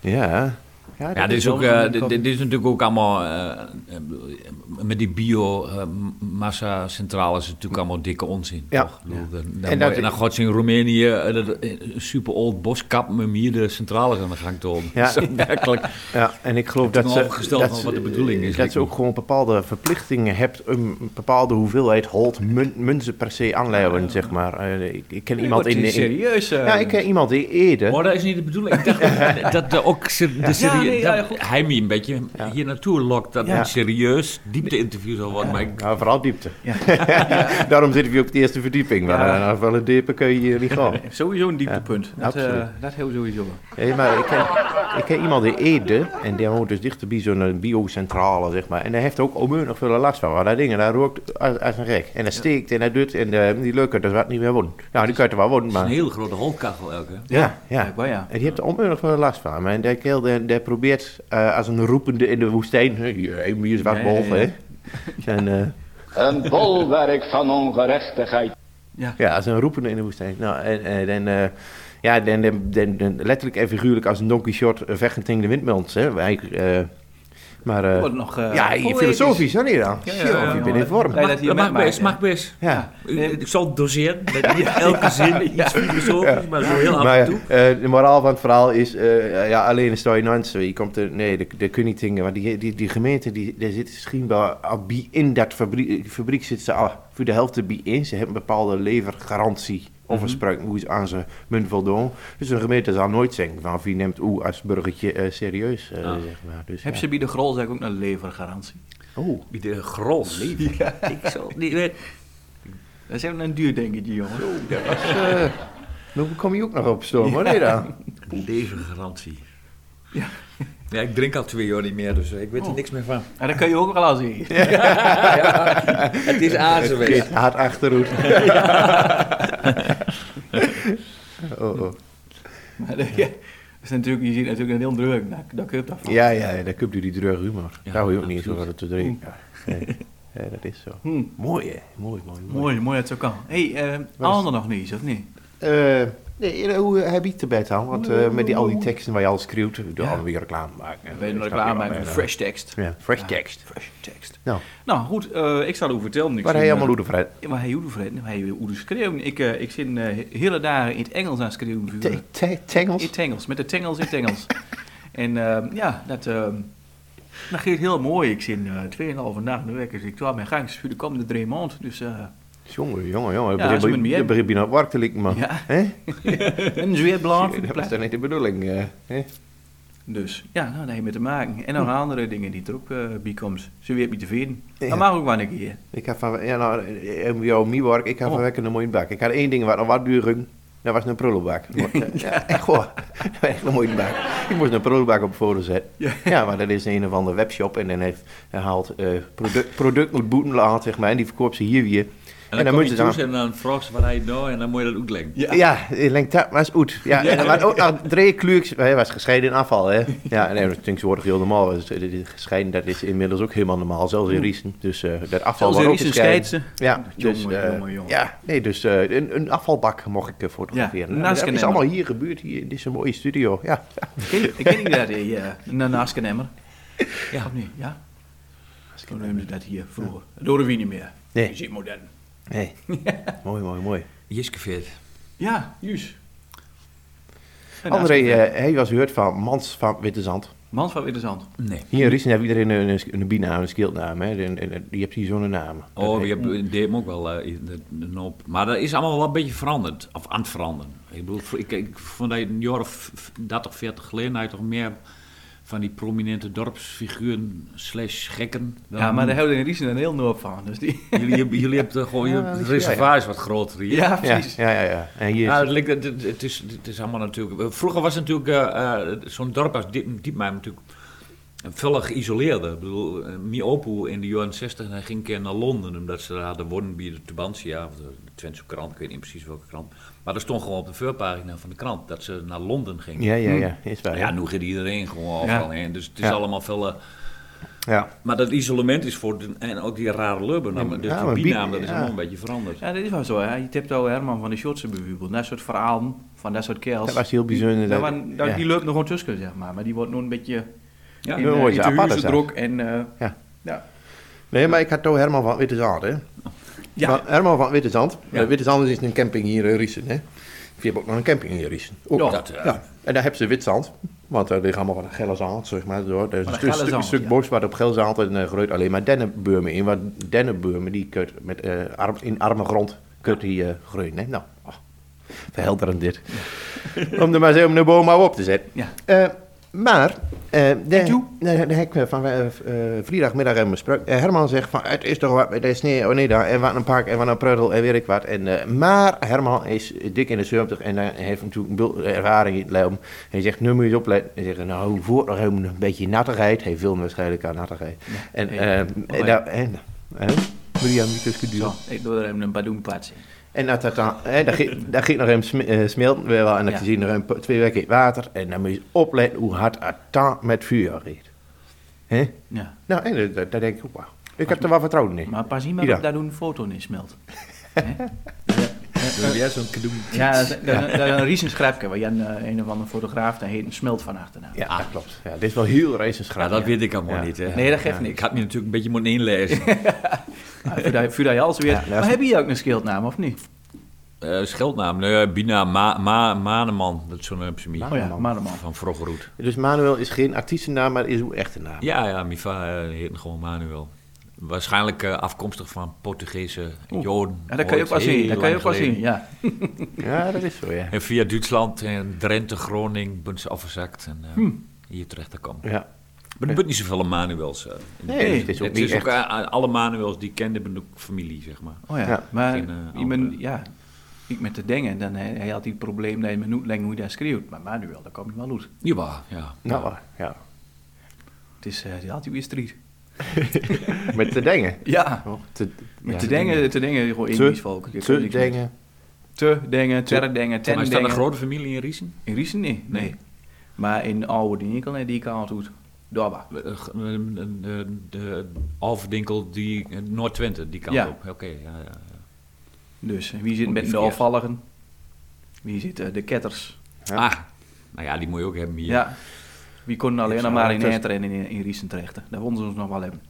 S4: ja.
S5: Ja, dit is, ook,
S4: wel
S5: eh,
S4: een-
S5: dit, dit is natuurlijk ook allemaal. eh, eh, met die biomassa-centrales is het natuurlijk allemaal dikke onzin.
S4: Ja.
S5: Toch? Ik bedoel, Dan, dan,
S4: En
S5: en
S4: dat-
S5: dan, gaat ze in Roemenië eh, dat, eh, een super old boskap met hier de centrales aan de gang te houden.
S4: Ja.
S5: Ja. Zo werkelijk.
S4: Ja, en ik geloof dat
S5: toen
S4: ze,
S5: opgesteld
S4: dat
S5: van
S4: ze-
S5: wat de bedoeling is,
S4: Dat
S5: lijkt
S4: ze
S5: me.
S4: ook gewoon bepaalde verplichtingen hebt, een bepaalde hoeveelheid holt mun, munten per se aanleiden, zeg maar. Eh, ik, ik ken iemand
S3: Wordt
S4: in,
S3: hier
S4: in-
S3: Serieus. eh,
S4: Ja, ik ken iemand die eerder...
S5: Maar dat is niet de bedoeling. Ik dacht dat- dat er ook ser- de serie,
S3: Ja, nee, ja,
S5: dat
S3: goed.
S5: hij me een beetje hier naartoe lokt. Dat
S4: Ja.
S5: een serieus diepte-interview zou worden. Maar ik,
S4: Nou, vooral diepte. Daarom zitten we op de eerste verdieping. Maar
S3: Ja.
S4: eh, nou, van een diepe kun je hier niet gaan.
S3: Sowieso een dieptepunt. dat, eh,
S4: absoluut.
S3: dat heel sowieso.
S4: Hé, maar ik ken, ik ken iemand in Ede, en die woont dus dichterbij zo'n eh, biocentrale, zeg maar. En daar heeft ook onmeunig veel last van. Want dat dingen, daar rookt als, als een gek. En dat steekt en dat doet, en eh, die leuker, dat wat niet meer wonen. Nou, die kan er wel wonen,
S5: het is een
S4: maar...
S5: hele grote holkachel elke.
S4: Ja, ja.
S3: Blijkbaar, ja.
S4: En die heeft er onmiddellijk wel last van. Maar die kerel die, die probeert eh, als een roepende in de woestijn... hè, Hier, hey, hier is wat
S3: Ja,
S4: behalve,
S3: ja, ja.
S4: hè. En, eh,
S6: Een bolwerk van ongerechtigheid.
S3: Ja.
S4: Ja, ze roepen in de woestijn. Nou, en, en, en, eh, ja, dan, dan, dan, dan letterlijk en figuurlijk als een Don Quixote eh, vechtend tegen de windmans. Hè. Wij, eh, maar eh,
S3: Wordt nog, eh,
S4: ja,
S3: poëtisch.
S4: filosofisch, hoor je dan?
S3: Ja, ja,
S4: Tjoh,
S3: ja,
S4: je
S3: ja.
S4: bent in vorm.
S3: Nee, dat
S5: Mag,
S3: hier met
S5: mag
S3: mij,
S5: best,
S3: ja.
S5: mag best.
S4: Ja.
S3: Nee.
S5: Ik zal het doseren met niet elke zin iets filosofisch, maar zo heel af
S4: Maar
S5: en
S4: ja,
S5: toe.
S4: eh, de moraal van het verhaal is, eh, ja, alleen een story nonsense. Je komt er, nee, de, de Kunitingen, maar die, die, die gemeente, die, daar zit misschien wel al bij in dat fabriek, fabriek zit ze al voor de helft erbij in. Ze hebben een bepaalde levergarantie of een spruit
S5: Mhm.
S4: hoe ze aan ze munt voldoen. Dus een gemeente zal nooit zeggen van wie neemt oe als burgertje eh, serieus, eh,
S5: Ah.
S4: zeg maar. Dus,
S3: Heb
S4: ja.
S3: ze bij de grol zeg ik ook een levergarantie.
S4: Oh,
S5: Wie de grols. Ik zal niet weten.
S3: Dat is even een duur dingetje, jongen.
S4: dan kom je ook nog op stoom, hoor. Nee, dan.
S5: Levergarantie.
S3: Ja.
S5: Ja, ik drink al twee jaar niet meer, dus ik weet er niks meer van.
S3: En dat kun je ook wel al zien.
S5: Het is aarzewees.
S4: Kind haat achterhoed. oh, oh.
S3: Maar dat- ja, dat is natuurlijk, je ziet natuurlijk een heel druk. Nou, dat kun je daarvan.
S4: Ja, ja, ja, daar heb je die dreur humor.
S5: Ja,
S4: daar hou je ook niet
S5: absoluut.
S4: zo van te drinken. Ja, nee. Ja, dat is zo.
S3: Hm.
S4: Mooi, hè? Mooi, mooi, mooi.
S3: Mooi, mooi dat het zo kan. Hé, hey, Ander nog niet, eens, of niet?
S4: Eh, nee, hoe heb je het erbij dan? Want eh, met die, al die teksten waar je al schreeuwt, door
S3: Ja.
S4: ja. weer reclame maken.
S3: We hebben
S4: Snap
S3: nog
S4: je
S3: klaar
S4: wel,
S3: met
S4: hè?
S3: fresh tekst.
S4: Ja, fresh tekst.
S3: Fresh tekst.
S4: Nou,
S3: Nou goed, eh, ik zal u vertellen. Ik
S4: waar
S3: zit,
S4: hij
S3: eh,
S4: allemaal hoe de vrij...
S3: Ja, Maar hij hoeft vreden, hij hoeft schreeuwen. Ik, eh, ik zit eh, he- hele dagen in het Engels aan het schreeuwen. voor-
S4: Te- te- Tengels?
S3: In het Engels, met de tengels in het Engels. en ehm, ja, dat, ehm dat geeft heel mooi. Ik zit eh 2,5 nacht in de week, dus ik twaalf mijn gangs voor de komende drie maanden. Dus eh
S4: Jongen, jongen, jongen.
S3: Ja,
S4: Ja,
S3: zo met mij, hè?
S4: je begint bijna op warm te likken, man.
S3: Ja.
S4: Hè?
S3: en weer belangrijk voor
S4: Dat
S3: de
S4: is
S3: plaats.
S4: dan niet de bedoeling. eh, hè?
S3: Dus ja, nou, daar heb je mee te maken. En nog andere dingen die er ook eh, bij komen. Ze weet niet tevreden.
S4: Ja.
S3: Dat mag ook wel een keer.
S4: Ik heb van, ja nou, in jouw miewerk, ik heb
S3: Oh.
S4: van wekken een mooie bak. Ik had één ding wat nog wat duur ging, dat was een prullenbak. eh, Ja, echt hoor, dat was echt een mooie bak. Ik moest een prullenbak op foto zetten. Ja. maar dat is een of andere webshop en dan heeft, hij haalt eh, product, product moet boeten laten, zeg maar, en die verkoopt ze hier weer.
S5: En dan, kom je
S4: moeten
S5: toe en dan vraag ze wat hij nou en dan moet je dat uitleggen.
S4: ja, ja ik denk dat was goed. Ja, en er waren ook nog drie kluks. Hij was gescheiden in afval, hè? Ja, nee, dat is tegenwoordig heel normaal. Dus, eh, dit is Gescheiden, dat is inmiddels ook helemaal normaal, zelfs in Riesen. Dus eh, dat afval
S3: Hmm. Zelfs
S4: was
S3: in
S4: ook
S3: Riesen
S4: gescheiden.
S3: scheidt
S4: Ja,
S3: Jongen,
S4: dus, eh,
S3: jongen, jongen.
S4: ja, nee, dus eh, een, een afvalbak mocht ik eh, fotograferen.
S3: Ja,
S4: En
S3: naast
S4: dat is
S3: Kennemer.
S4: allemaal hier gebeurd, hier in deze mooie studio. Ja,
S3: Ik ken- Ik ken niet dat hij uh, naast kan emmer. Ja. Of niet? Ja? Toen noemden ze dat hier vroeger. Door de wie niet meer.
S4: Nee.
S3: Je ziet modern.
S4: nee. mooi, mooi, mooi.
S5: Jiske Veert.
S3: Ja, juist. En
S4: André,
S3: naast-
S4: eh, hij was gehoord van Mans van Witte Zand.
S3: Man van Wittezand.
S5: Nee.
S4: Hier
S3: Hmm.
S4: in Riesen heeft iedereen een, een, een bijnaam, een schildnaam. Hè. En- en- en Die hebt hier zo'n naam.
S5: Oh, je hebt DM ook wel eh, in de- de noop. Maar dat is allemaal wel een beetje veranderd. Of aan het veranderen. Ik bedoel, voor- ik, ik vond dat een jaar of 30, 40 geleden had je toch meer van die prominente dorpsfiguren slash gekken. dan
S3: Ja, maar
S5: nu.
S3: daar houden in Riesen een heel noop van. Dus die...
S5: jullie, hebben- jullie hebben toch gewoon
S4: Ja,
S5: je
S4: dat is waar,
S5: reservoirs wat groter hier.
S3: Ja,
S4: Ja,
S3: precies. Ah,
S4: ja, ja, ja. En hier is-
S5: Ja, Nou, het, lijkt- het- het- het is, het is allemaal natuurlijk. Vroeger was het natuurlijk eh, eh, zo'n dorp als Diep, Diepmaar natuurlijk veel geïsoleerde. Ik bedoel, eh, mijn opo in de jaren 60 hij ging een keer naar Londen omdat ze daar hadden wonen bij de Tubantia, of de Twentse krant, ik weet niet precies welke krant. Maar er stond gewoon op de voorpagina van de krant dat ze naar Londen gingen.
S4: ja, ja,
S3: Hmm.
S4: ja. Is waar,
S5: Nou
S4: ja.
S5: ja, nu gaat iedereen gewoon
S3: Ja.
S5: overal heen. Dus het is
S4: Ja.
S5: allemaal veel. eh,
S4: Ja.
S5: maar dat isolement is voor. de- en ook die rare lubben.
S4: maar-
S5: dus
S4: ja, maar
S5: die
S4: Bie-
S5: binaam, dat is
S4: ja.
S5: allemaal een beetje veranderd.
S3: Ja, dat is wel zo. Hè. Je tipt al Herman van de Schotse bijvoorbeeld. Dat soort verhalen van dat soort kerels.
S4: Dat was heel bijzonder.
S3: Daar
S4: dat-
S3: waren- daar-
S4: ja.
S3: Die loopt nog gewoon tussen, zeg maar. Maar die wordt nu een beetje
S5: Ja.
S3: in,
S4: dan
S3: eh,
S4: word je
S3: in te
S4: apart,
S3: huur
S4: zeg.
S3: gedrokt En, eh,
S4: Ja.
S3: ja.
S4: Nee, maar ik had toch Herman van Witte Zand, hè?
S3: Ja.
S4: Van Herman van Witte Zand.
S3: Ja.
S4: Eh, Witte Zand is een camping hier in Riesen, hè? Je hebt ook nog een camping hier in Riesen. Ook
S3: Ja. eh,
S4: dat, ja. En daar hebben ze wit zand. Want er ligt allemaal van gelle zand, zeg maar. Door. Er is een
S3: Van de
S4: stu-
S3: gelle
S4: stuk,
S3: zand,
S4: stuk
S3: ja.
S4: bos waar op geel zand en eh groeit alleen maar dennenbeurmen in. Want dennenbeurmen, die kunt met, eh, arm, in arme grond kunt die eh, groeien, hè? Nou, oh, verhelderend dit. om er maar zo om de boom maar op te zetten.
S3: Ja.
S4: Eh, maar, eh de,
S3: toe?
S4: de, de hek van eh, eh, vrijdagmiddag hebben we gesproken. Eh, Herman zegt van, het is toch wat met de sneeuw, oh nee daar, en wat een park, en wat een prudel, en weet ik wat. En, eh, maar Herman is dik in de 70 en hij heeft natuurlijk een bult ervaring in het leven. En hij zegt, nu moet je eens opletten. En hij zegt, nou, hoe voort nog een beetje nattigheid. Hij wil waarschijnlijk aan nattigheid. En,
S3: hey.
S4: eh, en,
S3: Oh,
S4: daar- en, hè? William, die tussen duwen.
S3: Zo, ik doe er even een badoenpaats in.
S4: En dat, dat, dan- hè, dat, ge- dat ging nog hem sm- eh, smelten weer wel en dat
S3: Ja.
S4: je ziet nog een pa- twee weken in het water. En dan moet je opletten hoe hard het daar met vuur reed. Hè?
S3: Ja.
S4: Nou, en dat- dat, dat denk ik ook wel. Ik heb er wel vertrouwen in.
S3: Maar pas niet
S4: Ja.
S3: meer op daar doen een foto in smelt. Hè?
S5: Dus weer zo'n kadoem.
S3: Ja, dat is een Riesen Schrijpke, waar Jan eh, een of andere fotograaf, daar heet hem Smelt van achterna.
S4: Ja, dat klopt. Ja, dit is wel heel racist
S5: Ja,
S4: graag.
S5: dat weet ik allemaal
S4: Ja.
S5: niet. Hè.
S3: Nee, dat geeft
S5: Ik
S3: niks.
S5: had me natuurlijk een beetje moeten inlezen.
S3: Maar Vuur dat- vuur dat je alles weer.
S4: Ja, luister.
S3: maar hebben jullie ook een schildnaam, of niet?
S5: Eh, scheldnaam, nee, Bina Ma Ma Maneman, dat is zo'n psemie.
S3: Oh ja, Maneman.
S5: Van Vrogeroet.
S4: Dus Manuel is geen artiestennaam, maar is uw echte naam.
S5: Ja, ja, Mifa eh, heet gewoon Manuel. Waarschijnlijk eh, afkomstig van Portugese Joden.
S3: Ja, dat kan je ook
S5: ooit
S3: wel zien,
S5: heel
S3: dat kan je ook
S5: lang
S3: wel
S5: geleden.
S3: zien, ja.
S4: Ja, dat is zo, ja.
S5: En via Duitsland en Drenthe, Groningen, ben ze afgezakt en eh,
S3: Hm.
S5: hier terecht gekomen.
S4: ja.
S5: Maar er bent niet zoveel Manuels. eh, in de-
S4: Nee, het is ook
S5: het
S4: niet
S5: is ook,
S4: echt.
S5: eh, alle Manuels die ik kende, ben ook familie, zeg maar.
S3: Oh ja,
S4: Ja.
S3: maar
S5: Geen, eh,
S3: ik ben-
S5: andere.
S3: ja, ik met de dingen, dan eh, hij, hij had die probleem dat je met noetling hoe je daar schreeuwt. Maar Manuel, daar kom je wel uit.
S5: Jawel, ja.
S4: Nou, ja.
S3: Het is, eh, die had hij weer strijd.
S4: Met te denken.
S3: Ja,
S4: Oh, Te,
S3: met
S4: ja.
S3: te denken, te denken, gewoon
S4: Te-
S3: Indisch volk. Je kunt
S4: Te
S3: niks meer.
S4: denken.
S3: Te denken, ter denken, ten
S5: Maar is dat een
S3: denken.
S5: grote familie in Riesen?
S3: In Riesen niet, nee.
S5: Nee.
S3: Maar in Oude Dinkel, nee, die kant uit. Daar waar.
S5: Eh, eh, De, de, de Alverdinkel, die eh, Noord-Twente, die kant
S3: Ja.
S5: op. Oké, ja, ja.
S3: Dus wie zit
S5: Ook
S3: met
S5: niet
S3: de
S5: verkeerd.
S3: afvalligen? Wie zit eh, de ketters?
S4: Ja.
S5: Ah, nou ja, die moet je ook hebben hier.
S3: Ja. Wie kon alleen
S4: Ik
S3: nog
S4: zou
S3: maar
S4: wel
S3: in
S4: tussen-
S3: Eter en in, in Riesen terecht. hè. Daar wonden ze ons nog wel hebben.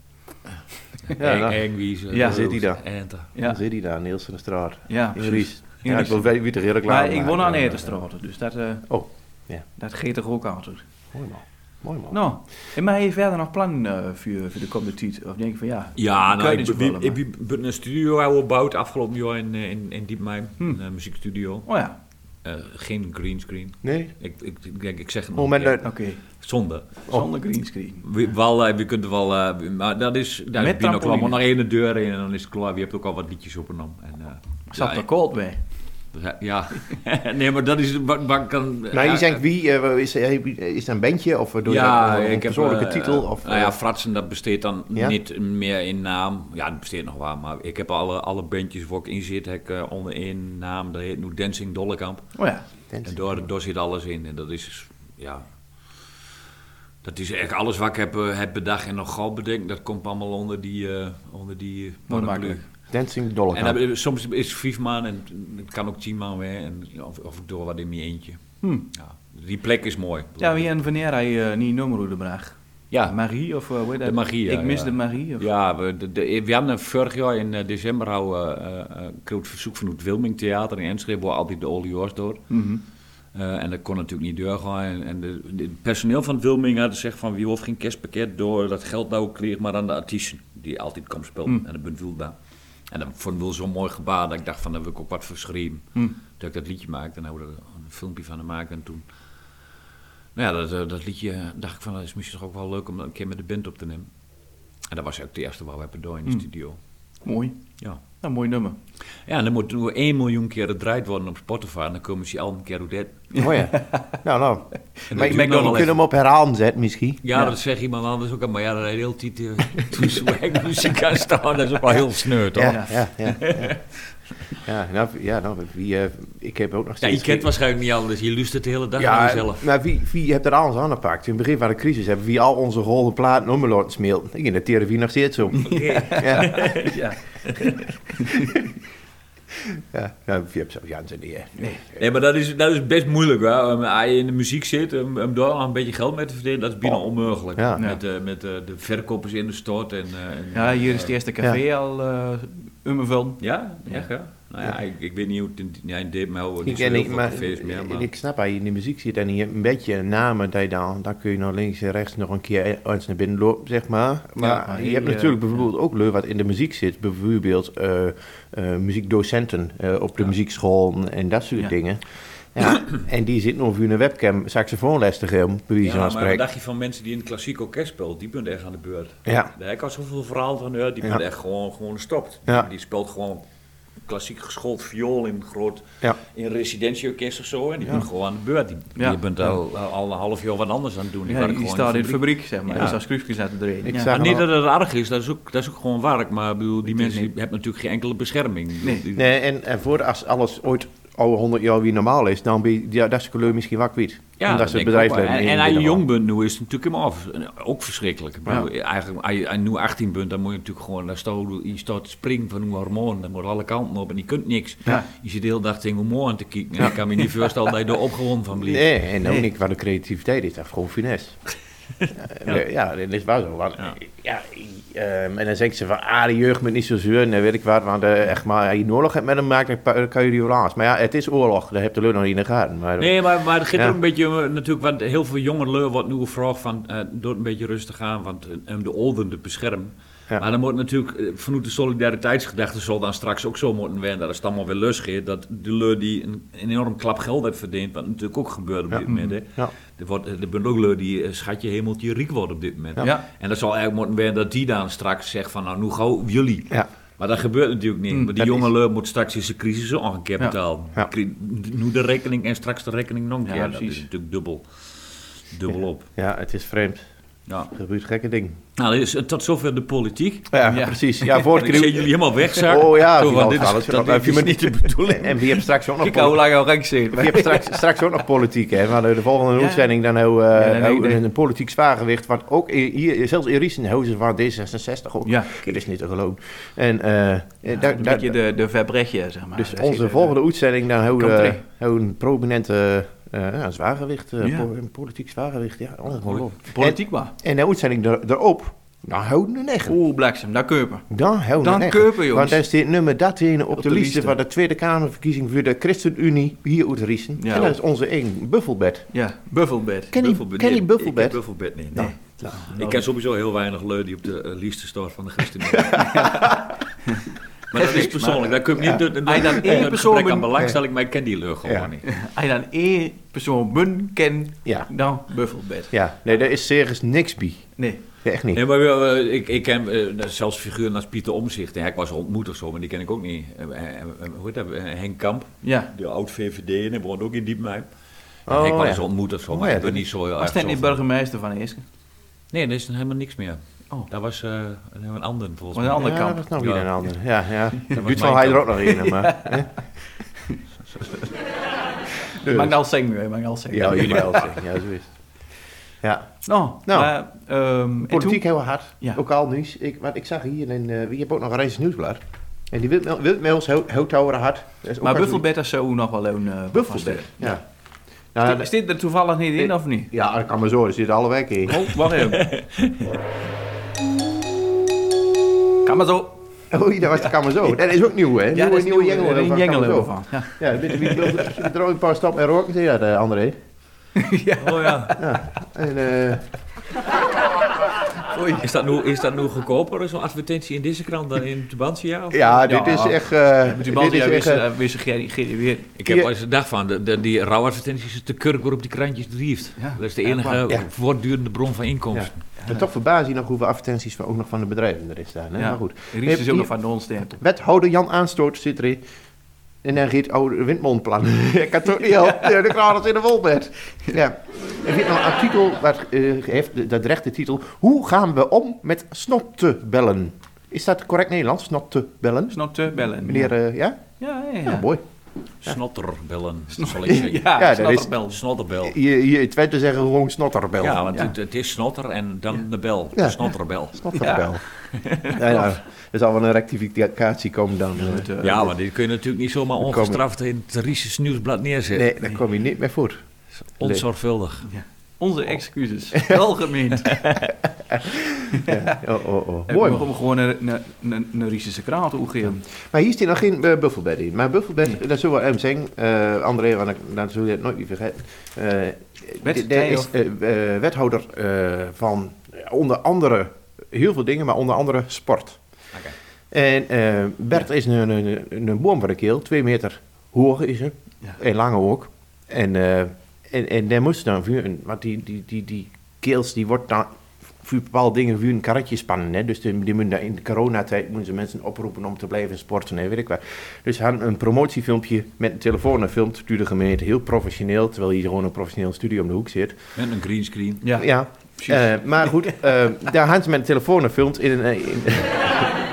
S4: Ja,
S5: Eng-
S4: nou,
S5: Engwies, eh,
S3: Ja,
S5: Roos,
S4: zit die daar.
S5: Ente.
S4: Dan
S3: Ja,
S4: zit hij daar, Niels van de Straat.
S3: ja.
S4: In Ries.
S3: In
S4: Ja, ik
S3: Ries.
S4: wil weten wie er heel klaar
S3: Maar ik won aan Eterstraat, dus dat, eh
S4: Oh, ja.
S3: dat geet er ook altijd.
S4: Mooi man. Mooi man.
S3: Nou, en maar heb je verder nog plannen eh, voor, voor de komende tijd? Of denk je van ja,
S5: Ja,
S3: we
S5: nou,
S3: kunnen
S5: ik,
S3: het
S5: ben-
S3: wel,
S5: ik ben een studio gebouwd afgelopen jaar in, eh, in, in Diepmeim,
S3: Hm.
S5: een eh, muziekstudio.
S3: maar- Oh ja,
S5: Eh, geen greenscreen.
S4: Nee?
S5: Ik, ik, ik, denk- ik zeg het nog
S4: Moment
S5: een keer.
S4: uit.
S3: oké.
S5: Zonde.
S3: Zonder greenscreen.
S5: We, wel, eh, we kunnen wel, eh, we- maar dat is, daar
S3: Met
S5: ben je ook wel
S3: trampoline.
S5: maar nog één de deur in en dan is het klaar. Je hebt ook al wat liedjes opgenomen. En, eh,
S3: Zat
S5: ja,
S3: er koud bij.
S5: ik- ja, nee, maar dat is wat, wat ik kan.
S4: Nou, je
S5: ja,
S4: zegt wie, eh, is, is het een bandje of doe je
S5: ja,
S4: dat, eh, een
S5: ik heb
S4: persoonlijke
S5: eh,
S4: titel? Of,
S5: nou ja,
S4: eh,
S5: Fratsen, dat besteedt dan
S4: Ja?
S5: niet meer in naam. Ja, dat besteedt nog wel, maar ik heb alle, alle bandjes waar ik in zit, heb ik eh, onder één naam. Dat heet nu Dancing Dollekamp.
S3: Oh ja,
S5: En daar, daar zit alles in. En dat is, ja. Dat is echt alles wat ik heb, eh, heb bedacht en nog gauw bedenkt. Dat komt allemaal onder die. eh onder die eh,
S3: Mooi
S5: paraplu.
S3: makkelijk.
S4: Dancing
S5: En
S4: Dollar.
S5: dan- soms is het vijf man en het kan ook tien man weer. En, of, of ik doe wat in mijn eentje.
S3: Hm.
S5: Ja, die plek is mooi.
S3: Ja, wie en wanneer hij eh, niet nummer hoe de braag.
S5: Ja,
S3: Marie of eh, hoe heet dat?
S5: De magie, ja,
S3: Ik mis
S5: ja.
S3: de magie. Of...
S5: Ja, we, de, de- we hebben vorig jaar in eh, december houden, eh, eh, kreeg het verzoek van het Wilming Theater in Enschede, waar altijd de olieoors door.
S3: Mhm.
S5: Eh, en dat kon natuurlijk niet doorgaan. En, en de, de- het personeel van het Wilming had gezegd van wie hoeft geen kerstpakket door, dat geld nou kreeg maar aan de artiesten die altijd komen spelen. En dat bent daar. En dat vond ik wel zo'n mooi gebaar dat ik dacht van daar wil ik ook wat voor schreeuwen. Toen ik dat liedje maakte en hebben we er een filmpje van gemaakt en toen... Nou ja, dat, eh, dat liedje eh, dacht ik van dat is misschien toch ook wel leuk om dat een keer met de band op te nemen. En dat was ook de eerste waar we hebben gedaan in de studio.
S3: Mooi.
S5: Ja.
S3: Nou, mooi nummer.
S5: Ja, en dan moet nu 1 miljoen keer gedraaid worden op Spotify. En dan komen ze al een keer hoe dat...
S4: Oh ja. nou, nou. Maar ik
S5: duurt nog
S4: merk dat
S5: wel
S4: we
S5: even.
S4: kunnen hem op herhalen zetten misschien.
S5: Ja, dat zegt iemand anders ook. al, Maar ja, dat hele tijd eh, toen ze weg muziek aan staan, dat is ook wel heel sneu, toch? Ja,
S4: Ja, ja, ja. ja. Ja, nou, ja, nou wie, eh, ik heb ook nog
S5: je
S4: steeds...
S5: kent waarschijnlijk niet anders. Je lust het de hele dag aan
S4: Ja,
S5: jezelf.
S4: maar wie, wie heeft er alles aangepakt? In het begin van de crisis hebben wie al onze rollen platen om laten smeel. Ik in de therapie nog steeds zo. Ja,
S3: ja.
S4: ja, nou, wie hebt zo Jans en die. eh, Nee.
S5: Nee, maar dat is, dat is best moeilijk. Hè? Om- Als je in de muziek zit, om, om daar een beetje geld mee te verdienen, dat is bijna
S4: Oh.
S5: onmogelijk.
S4: Ja.
S5: Met, eh, met eh, de verkopers in de stort. En, eh, en-
S3: Ja, hier is het eerste café al eh ummerveld.
S5: Ja, echt ja. Nou ja, Ik, ik weet niet hoe het in, ja, in dit maar
S4: Ik,
S5: niet zo
S4: en
S5: heel
S4: ik,
S5: veel
S4: maar,
S5: cafés meer.
S4: en
S5: Maar,
S4: ik snap, als je in de muziek zit en je hebt een beetje een naam, dat je dan, dan kun je nog links en rechts nog een keer e- eens naar binnen lopen, zeg maar. Maar,
S3: maar
S4: je
S3: hier,
S4: hebt
S3: eh,
S4: natuurlijk bijvoorbeeld ook leuk wat in de muziek zit. Bijvoorbeeld eh, eh, muziekdocenten eh, op de muziekschool en dat soort
S3: Ja.
S4: dingen. Ja, en die zitten over een webcam saxofoonles te geven, bij wijze
S5: ja,
S4: van
S5: maar wat
S4: spreken.
S5: dacht je van mensen die in het klassiek orkest speelt? Die bent echt aan de beurt.
S4: Ja.
S5: Daar heb ik al zoveel verhaal van gehoord. Die
S4: Ja.
S5: bent echt gewoon, gewoon gestopt.
S4: Ja.
S5: Die speelt gewoon klassiek geschoold viool in groot
S4: Ja.
S5: in residentieorkest of zo. En die bent gewoon aan de beurt. Die,
S3: Ja.
S5: je bent al, al een half jaar wat anders aan het doen.
S3: Ja,
S5: waren
S3: die
S5: gewoon
S3: staat
S5: de
S3: in de fabriek, zeg maar.
S5: Ja.
S3: Er staan schroefjes uit te draaien.
S4: Ik
S3: Ja.
S4: zag
S5: Maar niet
S4: hem al-
S5: dat het erg is, dat is ook, dat is ook gewoon werk. Maar ik bedoel, die
S3: is
S5: mensen
S3: niet-
S5: die hebben natuurlijk geen enkele bescherming.
S3: Nee.
S5: Die-
S4: Nee, en, en voor als alles ooit oude 100 jaar wie normaal is, dan ben je ja, dat is de kleur misschien wat kwijt.
S5: Ja,
S4: Omdat ze
S5: dat
S4: het
S5: denk ik ook wel.
S4: bedrijfsleven
S5: En,
S4: in-
S5: en als je
S4: binnen
S5: jong
S4: wel.
S5: bent, nu is het natuurlijk hem af. En Ook verschrikkelijk. Ik bedoel, Eigenlijk, als je, als je nu 18 bent, dan moet je natuurlijk gewoon... Dan staat, je staat te springen van uw hormoon. Dan moet alle kanten op en je kunt niks. Je zit de hele dag tegen uw moor aan te kijken. En ik kan me niet voorstellen dat je er opgewonden van blijft.
S4: Nee, en ook niet wat de creativiteit is. Dat is gewoon finesse. ja. ja, dat is wel zo. Want, ja. ehm, en dan zeggen ze van, ah, de jeugd bent niet zo zuur en weet ik wat. Want eh, echt maar, als je een oorlog hebt met hem maakt, dan pa- dan kan je die wel aan. Maar ja, het is oorlog. Dat heb je leuk nog niet in de gaten. Maar,
S5: Nee, maar, maar het gaat
S4: Ja.
S5: ook een beetje eh, natuurlijk, want heel veel jongelui wordt nu gevraagd van, eh door een beetje rustig aan, want eh, om de olden te beschermen.
S4: Ja.
S5: Maar dan moet natuurlijk, eh, vanuit de solidariteitsgedachte zal dan straks ook zo moeten wennen, dat als het allemaal weer lus gaat, dat de lui die een, een enorm klap geld heeft verdiend, wat natuurlijk ook gebeurt op dit moment, hè.
S4: Ja.
S5: Er, wordt, eh, er zijn ook lui die eh, schatje hemeltje riek worden op dit moment.
S3: Ja.
S5: En dat zal eigenlijk moeten wennen dat die dan straks zegt van, nou, nu gauw jullie.
S4: Ja.
S5: Maar dat gebeurt natuurlijk niet. maar die
S4: dat
S5: jonge lui moet straks in zijn crisis ook nog een keer betalen.
S4: Ja.
S5: Cri- Nu de rekening en straks de rekening nog een
S3: Ja,
S5: keer. dat
S3: precies.
S5: is natuurlijk dubbel, dubbel op.
S4: ja, het is vreemd.
S5: Ja.
S4: Er gebeurt gekke dingen.
S5: Nou, dus, eh, tot zover de politiek.
S4: Ja,
S3: Ja.
S4: precies. Ja,
S5: Ik zie jullie
S4: voortkreeuw.
S5: helemaal wegzakken.
S4: Oh ja,
S5: Zo,
S4: die
S5: want dit is,
S4: alles.
S5: dat,
S4: Nou,
S5: dit is
S4: vind ik
S5: niet de bedoeling.
S4: En wie hebt straks ook nog
S3: Kijk hoe
S4: politiek.
S3: lang al rank zit.
S4: Je hebt straks, straks ook nog politiek, hè? Maar de volgende
S3: Ja.
S4: uitzending dan hoe, eh,
S3: Ja, nee, nee,
S4: hoe
S3: nee.
S4: een politiek zwaargewicht. Want ook i- hier, zelfs in Riesenhuizen waar D66 ook.
S3: Ja.
S4: Dit is niet te geloven. En eh, eh, daar-
S3: Een
S4: daar-
S3: beetje de, de verbrechtje, zeg maar.
S4: dus
S3: Dat
S4: onze
S3: zit, eh,
S4: volgende uitzending dan hoe,
S3: Komt
S4: eh,
S3: erin.
S4: hoe een prominente eh, ja, zwaargewicht, eh,
S3: Ja.
S4: po- een politiek zwaargewicht. Ja, ongelooflijk.
S3: Politiek maar.
S4: En de uitzending er- erop, dan houden we echt.
S3: Oeh, bliksem, daar keupen.
S4: Dan houden we
S3: Dan
S4: echt.
S3: keupen, jongens.
S4: Want daar staat nummer dat in op,
S3: Op
S4: de,
S3: de
S4: lijst
S3: lijst.
S4: van de Tweede Kamerverkiezing voor de ChristenUnie hier uit Riesen.
S3: Ja.
S4: En dat is onze één buffelbed.
S3: Ja, buffelbed.
S4: Ken je
S5: Buffelbed,
S4: ken je
S5: nee, Ik
S4: buffelbed?
S5: heb buffelbed niet.
S4: Nou,
S5: nee. ik ken sowieso heel weinig leu die op de eh, liefste stort van de gasten. Maar dat is persoonlijk. Daar kun je niet. door- door-
S3: Als je dan
S5: door
S3: één
S5: het
S3: persoon
S5: gebrek aan
S3: bent-
S5: belangstelling, maar ik ken die leu gewoon
S4: Ja.
S5: niet.
S3: Als je dan één persoon bun kent,
S4: Ja.
S3: dan buffelbed.
S4: Ja, nee, daar is serieus niks bij.
S3: Nee.
S4: Ja, Echt niet.
S5: Nee, maar wel, eh, ik, ik ken eh, zelfs figuren als Pieter Omzicht. Hij was ontmoet of zo, maar die ken ik ook niet. Eh, eh, eh, hoe heet dat? Eh, Henk Kamp,
S3: Ja.
S5: de oud-VVD, en hij woont ook in Diepmeij.
S4: Oh,
S5: Oh, ik was
S4: ja.
S5: eens ontmoet of zo,
S4: Oh,
S5: maar
S4: ja,
S5: ik ben
S4: dat
S5: niet zo heel erg
S3: Was dat
S5: zo
S3: niet
S5: van-
S3: burgemeester van Eersken?
S5: Nee, er is helemaal niks meer.
S3: Oh.
S5: Dat was eh, een ander volgens
S3: Van
S5: mij.
S3: een andere
S4: Ja, dat
S3: kant.
S4: is nou weer
S5: Ja.
S4: een ander. Ja, ja. Duurt
S5: mijn
S4: wel hij er
S5: kamp.
S4: ook nog in, maar... hè?
S3: Dat mag ik al zeggen, hè, mag ik al zeggen.
S4: Ja, jullie wel zeggen. Ja, zo is het. Ja,
S3: Nou,
S4: Nou.
S3: maar, ehm, en
S4: politiek
S3: toen-
S4: heel hard.
S3: Ja.
S4: Lokaal nieuws. Ik, want ik zag hier, in, eh je hebt ook nog een Rijns Nieuwsblad. En die wildme- wildmeels hou- houdt houden hard. Dat is ook
S3: Maar
S4: wel
S3: buffelbed is zo nog wel een... eh,
S4: Buffelbed,
S3: vast-
S4: ja. Nou,
S3: Zit- Zit er toevallig niet in, of niet?
S4: ja, dat kan maar zo. Er zitten alle wijken in.
S3: Oh, wacht even. Kan maar zo.
S4: Oei, dat was de kamer zo. Dat is ook nieuw, hè?
S3: Ja, dat
S4: nieuwe
S3: is
S4: nieuwe
S3: nieuw,
S4: jengel.
S3: er is
S4: van
S3: een jengel
S4: Kamer Zo.
S3: van. Ja.
S4: Ja, een beetje wie wil er ook een paar stappen en roken. Ja, de André.
S5: Oh ja.
S4: En, eh,
S5: Oei. Is dat nu, is dat nu goedkoper, zo'n advertentie in deze krant dan in Tubantia? Of?
S4: ja, dit
S3: Ja.
S4: is echt... eh
S3: Met
S4: dit
S3: die
S4: is
S3: bal die
S4: echt, eh,
S3: wist weer.
S5: Ik heb
S4: Ja.
S5: wel eens een dag van, de, de, die rouwadvertenties is de kurk waarop die krantjes drijft.
S3: Ja.
S5: Dat is de enige
S3: Ja.
S5: eh, voortdurende bron van inkomsten.
S4: Maar toch verbaas je nog hoeveel advertenties van, ook nog van de bedrijven erin staan. Hè?
S3: Ja.
S4: Maar goed.
S3: Ries is ook
S4: Hier-
S3: nog van de onstempel.
S4: Wethouder Jan Aanstoot zit erin. En dan gaat oude windmondplan. Ik had toch niet al. Ja, de kraal is in de wolbed. Ja. Er zit nog een artikel wat, eh, heeft dat recht de titel. Hoe gaan we om met snottebellen? Is dat correct Nederlands? Snottebellen?
S3: Is nog te bellen.
S4: Meneer, eh, ja?
S3: Ja, ja,
S4: Ja,
S3: ja.
S4: mooi.
S5: Snotterbellen, zal ik zeggen.
S4: Ja,
S3: Ja, ja
S4: dat is-
S3: snotterbel.
S5: Snotterbel.
S4: Hier, hier in Twente zeggen we gewoon snotterbel.
S5: Ja, want
S3: Ja.
S5: Het, het is snotter en dan de bel.
S4: Ja.
S5: Snotterbel.
S4: Snotterbel. Ja, ja. Er zal wel een rectificatie komen dan. eh.
S3: Met, eh,
S5: Ja, maar dit kun je natuurlijk niet zomaar
S4: komen-
S5: ongestraft in het Rieses Nieuwsblad neerzetten.
S4: Nee, daar kom je niet meer voor.
S5: Onzorgvuldig.
S3: Onze excuses. Welgemeend.
S4: Oh, oh, oh.
S3: Mooi.
S4: Mooi man.
S3: We mogen gewoon een, een, een, een Riesische kraal toegeven.
S4: Maar hier zit nog geen eh, buffelbed in. Maar buffelbed,
S3: Hmm.
S4: dat zullen we hem zeggen. eh, André, want ik- dan zul je het nooit meer vergeten. Eh,
S3: Wet-
S4: dit- daar
S3: nee,
S4: is eh, eh, wethouder eh, van eh, onder andere heel veel dingen, maar onder andere sport.
S5: Oké.
S4: En eh, Bert is een, een, een, een boom van de keel. Twee meter hoog is hij.
S3: Ja.
S4: En lang ook. En, eh, en, en daar moest dan vuur... Want die, die, die, die keels, die wordt dan... Voor bepaalde dingen vuur een karretje spannen. Hè? Dus die, die moeten daar in de coronatijd moeten ze mensen oproepen om te blijven sporten. Hè? Weet ik wat. Dus hij had een promotiefilmpje met een telefoon gefilmd. Duurde de gemeente heel professioneel. Terwijl hier gewoon een professioneel studio om de hoek zit.
S5: Met een greenscreen.
S3: Ja.
S4: Ja,
S3: precies.
S4: eh, maar goed, eh, daar had ze met een telefoon gefilmd in een... eh, in-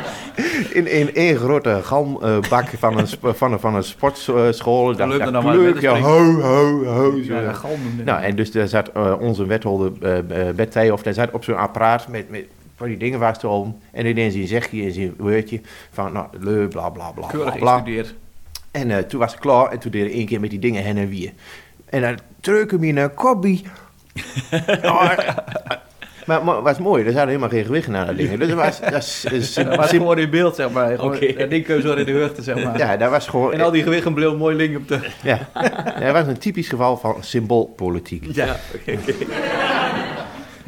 S4: in één één grote galmbak van een, sp- van een, van een sportschool.
S3: Leuk
S4: dat
S3: dat nou maar
S4: kleurt je
S3: met een
S4: ho, ho, ho. zo.
S3: Ja, dat galm eh, noemde.
S4: Nou, en dus daar zat eh, onze wethouder eh eh, Bert of daar zat op zo'n apparaat met, met van die dingen waar ze om. En ineens een zegje en zijn woordje van, nou, leu, bla, bla, bla, bla,
S3: Keurig
S4: bla.
S3: gestudeerd.
S4: En eh, toen was ik klaar en toen deed ik één keer met die dingen heen en weer. En dan treuk hem in een kopie. maar maar was mooi, er zaten helemaal geen gewichten aan dat ding. Dus dat was, dat is- is-
S3: Dat was
S4: was-
S3: gewoon in beeld, zeg maar. Gewoon, eh,
S5: Oké.
S3: Dat ding kun je zo in de heugte, zeg maar.
S4: ja, dat was gewoon. eh,
S3: En al die gewichten bleef mooi link op de...
S4: ja, dat was een typisch geval van symboolpolitiek.
S3: Ja,